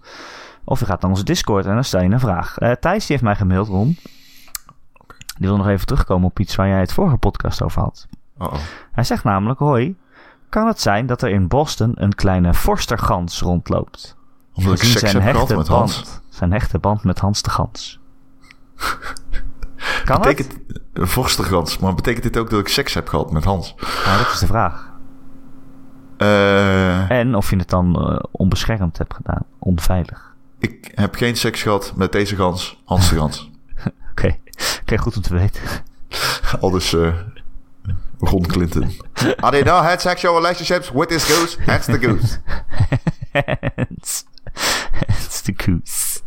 Of je gaat naar onze Discord en dan stel je een vraag. Eh, Thijs die heeft mij gemaild, Ron. Die wil nog even terugkomen op iets waar jij het vorige podcast over had. Oh, oh. Hij zegt namelijk: Hoi, kan het zijn dat er in Boston een kleine forstergans rondloopt? Omdat ik Gezien seks heb gehad met Hans. band, zijn hechte band met Hans de Gans. Kan het? Betekent... Een vorstergans. Maar betekent dit ook dat ik seks heb gehad met Hans? Nou, dat is de vraag. Eh, En of je het dan eh, onbeschermd hebt gedaan, onveilig. ik heb geen seks gehad met deze gans. Hans de gans. Oké, oké, goed om te weten. Al dus eh, Ron Clinton. I did not had sexual relationships with this goose. That's the goose. It's it's the goose.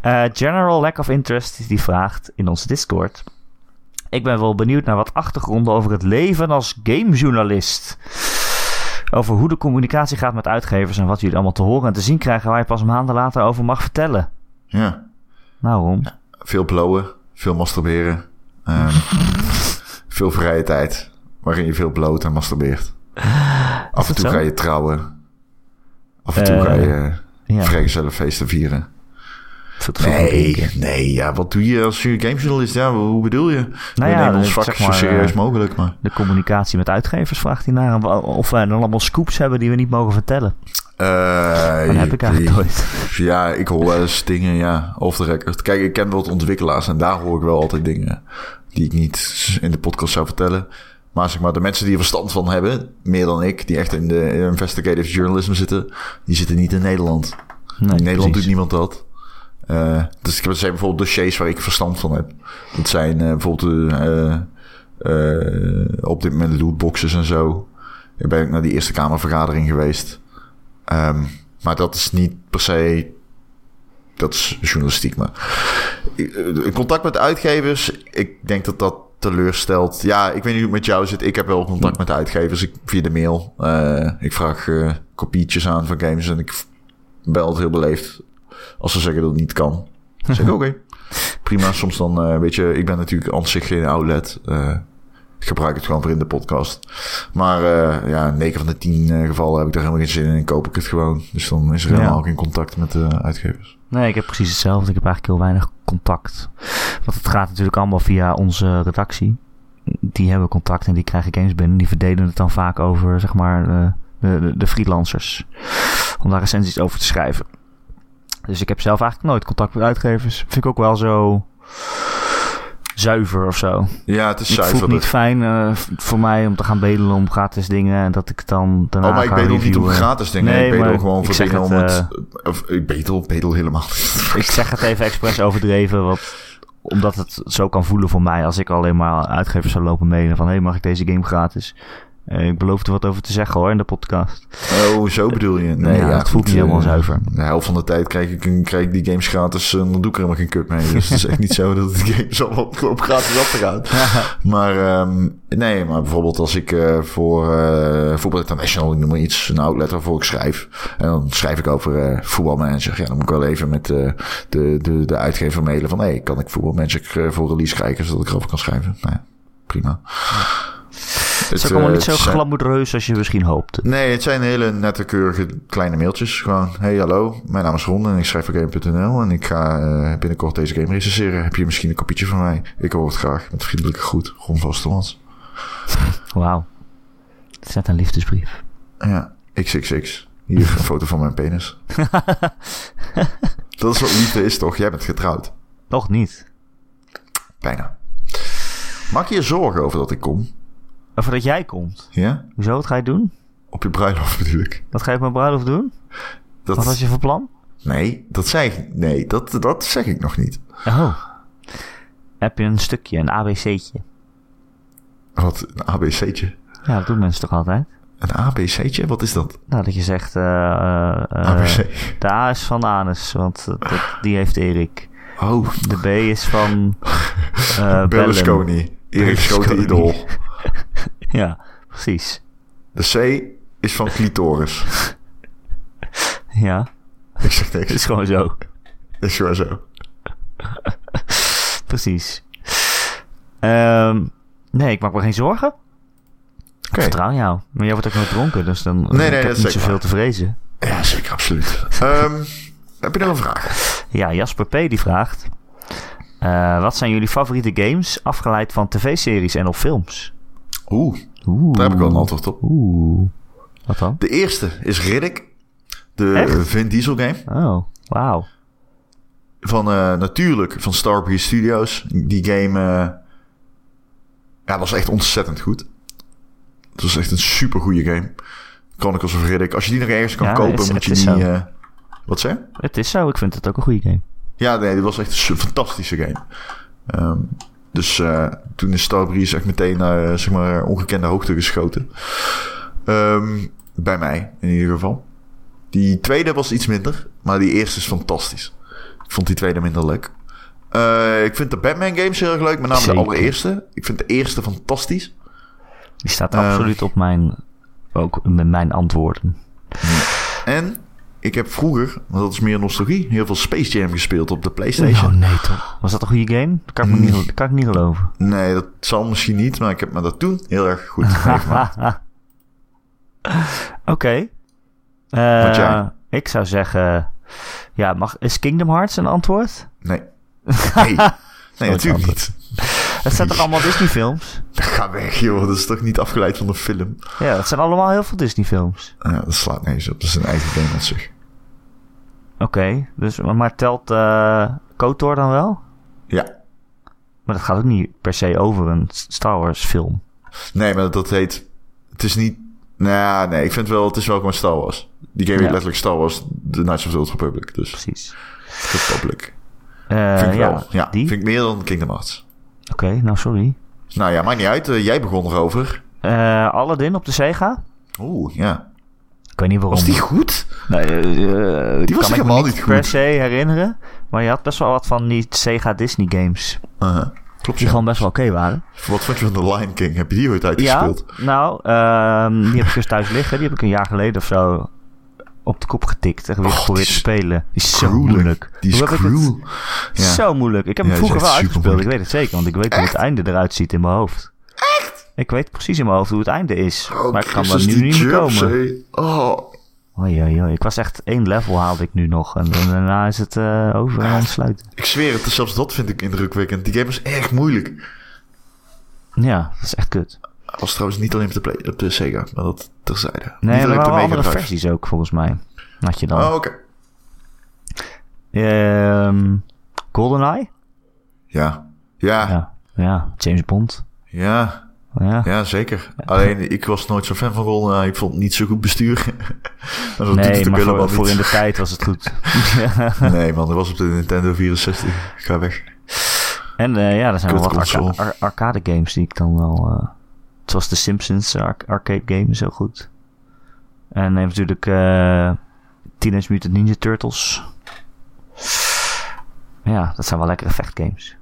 Eh, General Lack of Interest die vraagt in onze Discord. Ik ben wel benieuwd naar wat achtergronden over het leven als gamejournalist. Over hoe de communicatie gaat met uitgevers en wat jullie allemaal te horen en te zien krijgen waar je pas maanden later over mag vertellen. Ja. Nou, Ron. Veel blowen, veel masturberen. ehm, veel vrije tijd. Waarin je veel bloot en masturbeert. Af en dat toe zo? ga je trouwen. Af en toe Eh, ga je Ja, vrijgezellenfeesten vieren. vertrouwen Nee, drinken. nee, ja, wat doe je als je gamejournalist? Ja, hoe bedoel je? We ja, nemen ons eh, vak zeg zo maar, serieus eh, mogelijk, maar... De communicatie met uitgevers vraagt hij naar. en wa- Of wij dan allemaal scoops hebben die we niet mogen vertellen. eh, Dat heb ik eigenlijk nooit. Ja, ik hoor wel eens dingen, ja, off the record. Kijk, ik ken wel wat ontwikkelaars en daar hoor ik wel altijd dingen die ik niet in de podcast zou vertellen. Maar zeg maar, de mensen die er verstand van hebben, meer dan ik, die echt in de investigative journalism zitten, die zitten niet in Nederland. Nee, in Nederland precies. doet niemand dat. Eh, dus ik heb- er zijn bijvoorbeeld dossiers waar ik verstand van heb. Dat zijn eh, bijvoorbeeld eh, eh, op dit moment lootboxes en zo. Daar ben ik naar die Eerste Kamervergadering geweest. Ehm, maar dat is niet per se. Dat is journalistiek, maar. Ik- eh, Contact met uitgevers, ik denk dat dat teleurstelt. Ja, ik weet niet hoe het met jou zit. Ik heb wel contact met uitgevers ik, via de mail. Eh, ik vraag eh, kopietjes aan van games en ik bel het heel beleefd. Als ze zeggen dat het niet kan. Dan zeg ik oké. Prima, soms dan, eh, weet je, ik ben natuurlijk aan zich geen outlet. Eh, ik gebruik het gewoon voor in de podcast. Maar eh, ja, 9 van de 10 eh, gevallen heb ik daar helemaal geen zin in en koop ik het gewoon. Dus dan is er Ja. helemaal geen contact met de uitgevers. Nee, ik heb precies hetzelfde. Ik heb eigenlijk heel weinig contact. Want het gaat natuurlijk allemaal via onze redactie. Die hebben contact en die krijgen games binnen. Die verdelen het dan vaak over, zeg maar, eh, de, de, de freelancers. Om daar recensies over te schrijven. Dus ik heb zelf eigenlijk nooit contact met uitgevers. Vind ik ook wel zo zuiver of zo. Ja, het is Het voelt niet zuiverder. fijn eh, v- voor mij om te gaan bedelen om gratis dingen. En dat ik dan daarna Oh, maar ik ga bedel niet om reviewen. gratis dingen. Nee, ik bedel maar gewoon ik voor zeg dingen om het, eh, het... of, ik bedel, bedel helemaal Ik niet. zeg het even expres overdreven, want, omdat het zo kan voelen voor mij als ik alleen maar uitgevers zou lopen mailen van hé, hey, mag ik deze game gratis? Eh, ik beloof er wat over te zeggen hoor in de podcast. Oh, zo bedoel je? Nee, Ja, ja, het voelt goed, niet helemaal eh, zuiver. De helft van de tijd krijg ik, krijg ik die games gratis en dan doe ik er helemaal geen kut mee. Dus het is echt niet zo dat de games allemaal op, op gratis af te gaan. Maar ehm, nee, maar bijvoorbeeld als ik eh, voor eh Voetbal International, ik noem maar iets, een outlet waarvoor ik schrijf. En dan schrijf ik over eh voetbalmanager. Ja, dan moet ik wel even met eh, de, de, de uitgever mailen van... hé, hey, kan ik voetbalmanager eh, voor release krijgen, zodat ik erover kan schrijven? Nou ja, prima. Het Het is ook eh, allemaal niet zo het zijn- glamoureus als je misschien hoopte. Nee, het zijn hele nette, keurige kleine mailtjes. Gewoon, hey hallo, mijn naam is Ron en ik schrijf voor Game.nl en ik ga eh, binnenkort deze game recenseren. Heb je misschien een kopietje van mij? Ik hoor het graag. Met vriendelijke groet, Ron van Stomans. Wauw. Het is net een liefdesbrief. Ja, xxx. Hier een foto van mijn penis. Dat is wat liefde is toch? Jij bent getrouwd. Nog niet. Bijna. Maak je je zorgen over dat ik kom? Maar voordat jij komt. Ja? Hoezo, wat ga je doen? Op je bruiloft bedoel ik. Wat ga je op mijn bruiloft doen? Dat, Wat was je voor plan? Nee, dat zei ik, nee dat, dat zeg ik nog niet. Oh. Heb je een stukje, een ABC'tje? Wat, een ABC'tje? Ja, dat doen mensen toch altijd? Een ABC'tje? Wat is dat? Nou, dat je zegt... eh eh, eh, ABC. De A is van Anus, want dat- dat- die heeft Erik. Oh, De B is van eh Bellum. Berlusconi. Erik Schote Berlusconi. idool. Ja, precies. De C is van clitoris. Ja, Ik zeg het niks. is gewoon zo. Is gewoon zo. Precies. Ehm, nee, ik maak me geen zorgen. Ik Oké. vertrouw jou. Maar jij wordt ook nooit dronken, dus dan eh, nee, ik heb dat is niet zeker zoveel waar. te vrezen. Ja, zeker, absoluut. Ehm, heb je nog een vraag? Ja, Jasper P. die vraagt... eh, wat zijn jullie favoriete games afgeleid van tv-series en of films? Oeh, Oeh. daar heb ik wel een antwoord op. Oeh. Wat dan? De eerste is Riddick. De Echt? Vin Diesel game. Oh, wauw. Van eh, natuurlijk van Starbreeze Studios. Die game eh, ja, was echt ontzettend goed. Het was echt een super goede game. Chronicles of Riddick. Als je die nog ergens kan Ja, kopen, is- moet je het is die... zo. eh, wat zeg je? Het is zo, ik vind het ook een goede game. Ja, nee, dit was echt een fantastische game. Ehm, Dus eh, toen is Starbreeze echt meteen naar eh, zeg maar, ongekende hoogte geschoten. Ehm, bij mij in ieder geval. Die tweede was iets minder, maar die eerste is fantastisch. Ik vond die tweede minder leuk. Eh, ik vind de Batman games heel erg leuk, met name Zeker. de allereerste. Ik vind de eerste fantastisch. Die staat Ehm. absoluut op mijn, ook met mijn antwoorden. En ik heb vroeger, want dat is meer nostalgie, heel veel Space Jam gespeeld op de Oh PlayStation. nee toch. Was dat een goede game? Dat kan ik, me niet, gel- dat kan ik niet geloven. Nee, dat zal misschien niet, maar ik heb me dat toen heel erg goed meegemaakt. Oké. Eh, Wat jij? ik zou zeggen... Ja, mag, is Kingdom Hearts een antwoord? Nee. Nee, nee natuurlijk antwoord. niet. Het zijn toch allemaal Disney films? Ga weg, joh. Dat is toch niet afgeleid van de film? Ja, het zijn allemaal heel veel Disney films. Ja, dat slaat nergens op. Dat is een eigen game aan zich. Oké, dus, maar telt eh KOTOR dan wel? Ja. Maar dat gaat ook niet per se over een Star Wars film. Nee, maar dat heet... Het is niet... Nou ja, nee. Ik vind wel... Het is wel gewoon Star Wars. Die game heet Ja. letterlijk Star Wars. The Knights of the Old Republic. Dus Precies. Republic. Eh, Vind ik ja, wel. Ja, die? vind ik meer dan Kingdom Hearts. Oké, nou sorry. Nou ja, maakt niet uit. Eh, jij begon erover. Eh Aladdin op de Sega? Oeh, ja. Ik weet niet waarom. Was die goed? Nee, eh, eh, Die was kan ik me helemaal niet niet per goed. se herinneren. Maar je had best wel wat van die Sega Disney games. Uh-huh. Klopt, Die ja. gewoon best wel oké waren. Wat vond je van The Lion King? Heb je die ooit uitgespeeld? Ja, nou, ehm, die heb ik dus thuis liggen. Die heb ik een jaar geleden of zo op de kop getikt. En weer Oh, die geprobeerd te is spelen. Die is zo gruwelijk. moeilijk. Die is Hoe heb ik het- cruel. Ja. Zo moeilijk. Ik heb Ja, hem die is vroeger wel echt uitgespeeld. Ik supermoeilijk. weet het zeker, want ik weet hoe het einde eruit ziet in mijn hoofd. Echt? Ik weet precies in mijn hoofd hoe het einde is. Oh, maar ik kan Christus, er nu die niet meer jumps, komen. hé. Oh, Oei, oei, oei. Ik was echt één level haalde ik nu nog. En dan- daarna is het eh, over en ontsluiten. ik zweer het, dus zelfs dat vind ik indrukwekkend. Die game is erg moeilijk. Ja, dat is echt kut. Dat was trouwens niet alleen op de, play, op de Sega, maar dat terzijde. Nee, niet maar alleen er op de waren Mega andere Drive. versies ook, volgens mij. Had je dan. Oh, oké. Ehm, GoldenEye? Ja. Ja, ja, Ja. ja, James Bond. ja, Ja. zeker. Alleen, ik was nooit zo'n fan van Ron. Ik vond het niet zo goed bestuur. En dat doet nee, het ook maar helemaal voor, voor in niet. de tijd was het goed. Nee, man, dat was op de Nintendo 64. Ga weg. En eh, ja, er zijn wel Kut wat arca- console. ar- arcade games die ik dan wel... eh, zoals de Simpsons ar- arcade game is heel goed. En je hebt natuurlijk eh Teenage Mutant Ninja Turtles. Ja, dat zijn wel lekkere vechtgames.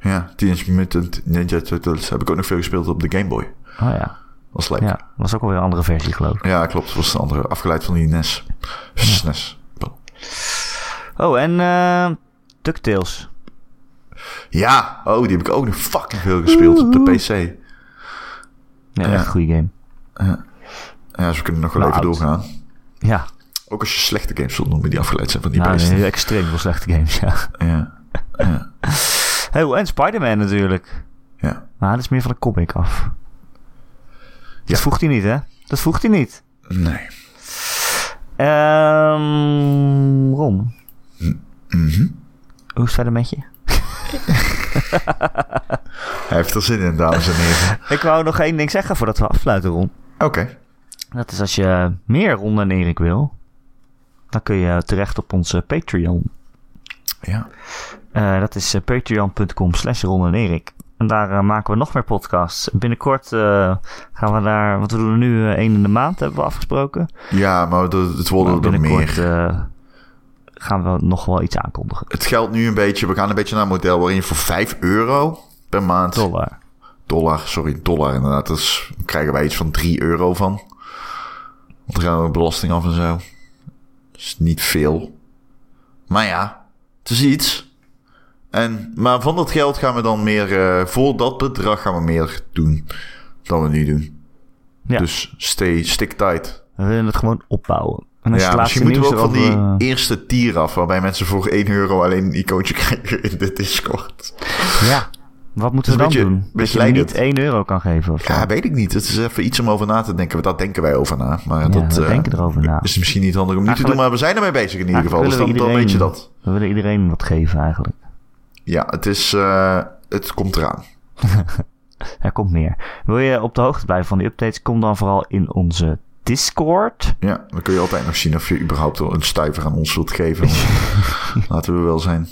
Ja, Teenage Mutant Ninja Turtles heb ik ook nog veel gespeeld op de Game Boy. Oh ja, Was leuk. ja. was ook alweer een andere versie geloof ik. Ja, klopt. Dat was een andere. Afgeleid van die E NES. SNES. pardon. Oh, en eh DuckTales. Ja, oh, die heb ik ook nog fucking veel gespeeld op de PC. Ja, Ja. echt een goede game. Ja, dus we kunnen nog wel Nou, even oud. doorgaan. Ja, Ook als je slechte games wilt noemen die afgeleid zijn van die nou, PC. heel extreem veel slechte games, ja. Ja, ja, Oh, en Spider-Man natuurlijk. ja. Maar Nou, dat is meer van de comic af. Dat vroeg hij niet, hè? Dat vroeg hij niet. Nee. Ehm Ron, Mhm. hoe is het verder met je? Hij heeft er zin in, dames en heren. Ik wou nog één ding zeggen voordat we afsluiten, Ron. Oké. Dat is als je meer Ron en Erik wil, dan kun je terecht op onze Patreon. Ja. Eh, dat is eh, patreon.com slash Ron en Erik. En daar eh, maken we nog meer podcasts. En binnenkort eh, gaan we daar, want we doen er nu eh, één in de maand, hebben we afgesproken. ja, maar dat- het worden Maar er meer. Nou, binnenkort eh, gaan we nog wel iets aankondigen. Het geldt nu een beetje, we gaan een beetje naar een model waarin je voor 5 euro per maand... Dollar. dollar, sorry, dollar inderdaad. Dus krijgen wij iets van 3 euro van. Want er gaan we belasting af en zo. Dat is niet veel. Maar ja, het is iets. En, maar van dat geld gaan we dan meer... eh, voor dat bedrag gaan we meer doen dan we nu doen. Ja. Dus stay, stick tight. We willen het gewoon opbouwen. En als je Ja, het misschien laatste moeten nieuws we ook van die erover, eh, eerste tier af... waarbij mensen voor 1 euro alleen een icoontje krijgen in de Discord. eh, Ja. Wat moeten we Het dan is een beetje doen? Dat je hem misleidend. niet 1 euro kan geven of zo. Ja, weet ik niet. Het is even iets om over na te denken. Want daar denken wij over na. Maar Ja, dat, we eh, denken erover na. is misschien niet handig om nu te Eigenlijk- doen. Maar we zijn ermee bezig in ieder geval. Dus dan, Eigenlijk dan willen we weet je iedereen- dat. We willen iedereen wat geven eigenlijk. Ja, het is... eh, het komt eraan. Er komt meer. Wil je op de hoogte blijven van die updates? Kom dan vooral in onze Discord. Ja, dan kun je altijd nog zien of je überhaupt wel een stuiver aan ons wilt geven. Want Laten we wel zijn.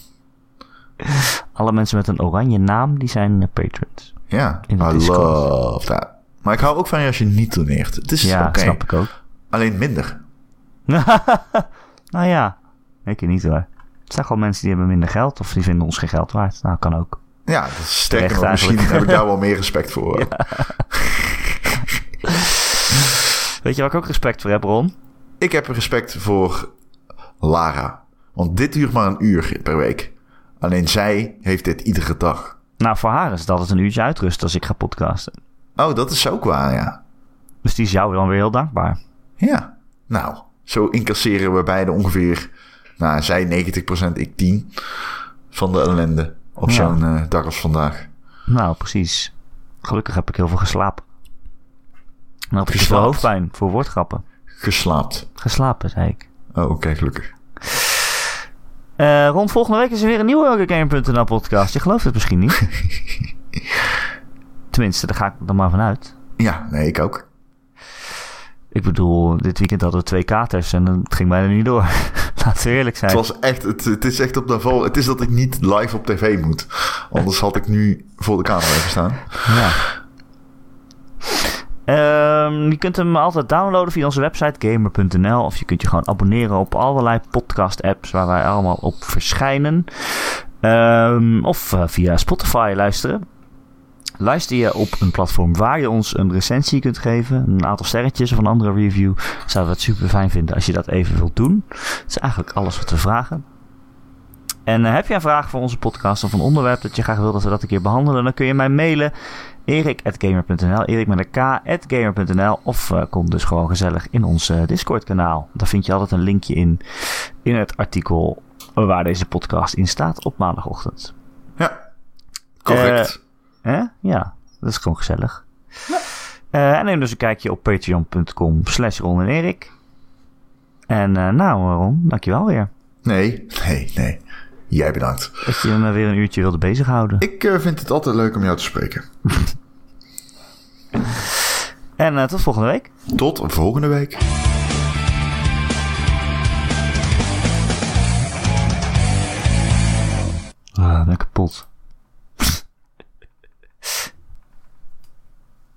Alle mensen met een oranje naam, die zijn eh, patrons. Ja, In de I Discord. love that. Maar ik hou ook van je als je niet toneert. Het is Ja, oké. snap ik ook. Alleen minder. nou ja, ik niet hoor. Er zijn gewoon mensen die hebben minder geld of die vinden ons geen geld waard. Nou, kan ook. Ja, dat is sterker Terecht nog, misschien eigenlijk. heb ik daar wel meer respect voor. Weet je waar ik ook respect voor heb, Ron? Ik heb respect voor Lara. Want dit duurt maar een uur per week. Alleen zij heeft dit iedere dag. Nou, voor haar is het altijd een uurtje uitrust als ik ga podcasten. Oh, dat is ook waar, ja. Dus die is jou dan weer heel dankbaar. Ja. Nou, zo incasseren we beide ongeveer... Nou, zij 90%, ik 10% van de ellende op Ja. zo'n eh, dag als vandaag. Nou, precies. Gelukkig heb ik heel veel geslapen. En had ik dus veel Geslaapt? hoofdpijn voor woordgrappen. Geslaapt. Geslapen, zei ik. Oh, oké, gelukkig. Eh rond volgende week is er weer een nieuwe Gamer.nl podcast. Je gelooft het misschien niet. Tenminste, daar ga ik er maar vanuit. Ja, nee, ik ook. Ik bedoel, dit weekend hadden we twee katers en het ging bijna niet door. Laten we eerlijk zijn. Het was echt, het, het is echt op de val. Het is dat ik niet live op tv moet. Anders had ik nu voor de camera even staan. Ja. Ehm, je kunt hem altijd downloaden via onze website gamer.nl of je kunt je gewoon abonneren op allerlei podcast-apps waar wij allemaal op verschijnen. Ehm, of eh, via Spotify luisteren. Luister je op een platform waar je ons een recensie kunt geven, een aantal sterretjes of een andere review, zouden we het super fijn vinden als je dat even wilt doen. Dat is eigenlijk alles wat we vragen. En eh, heb je een vraag voor onze podcast of een onderwerp dat je graag wil dat we dat een keer behandelen, dan kun je mij mailen erik.gamer.nl, erik met een k.gamer.nl of eh, kom dus gewoon gezellig in ons eh, Discord-kanaal. Daar vind je altijd een linkje in, in het artikel waar deze podcast in staat op maandagochtend. Ja, correct. Hè? Ja, dat is gewoon gezellig. Eh, en neem dus een kijkje op patreon.com slash Ron en Erik. En eh, nou Ron, dankjewel weer. nee, nee, nee. Jij bedankt. Dat je me weer een uurtje wilde bezighouden. Ik eh, vind het altijd leuk om jou te spreken. En eh, tot volgende week. Tot volgende week. Ah, ben ik kapot.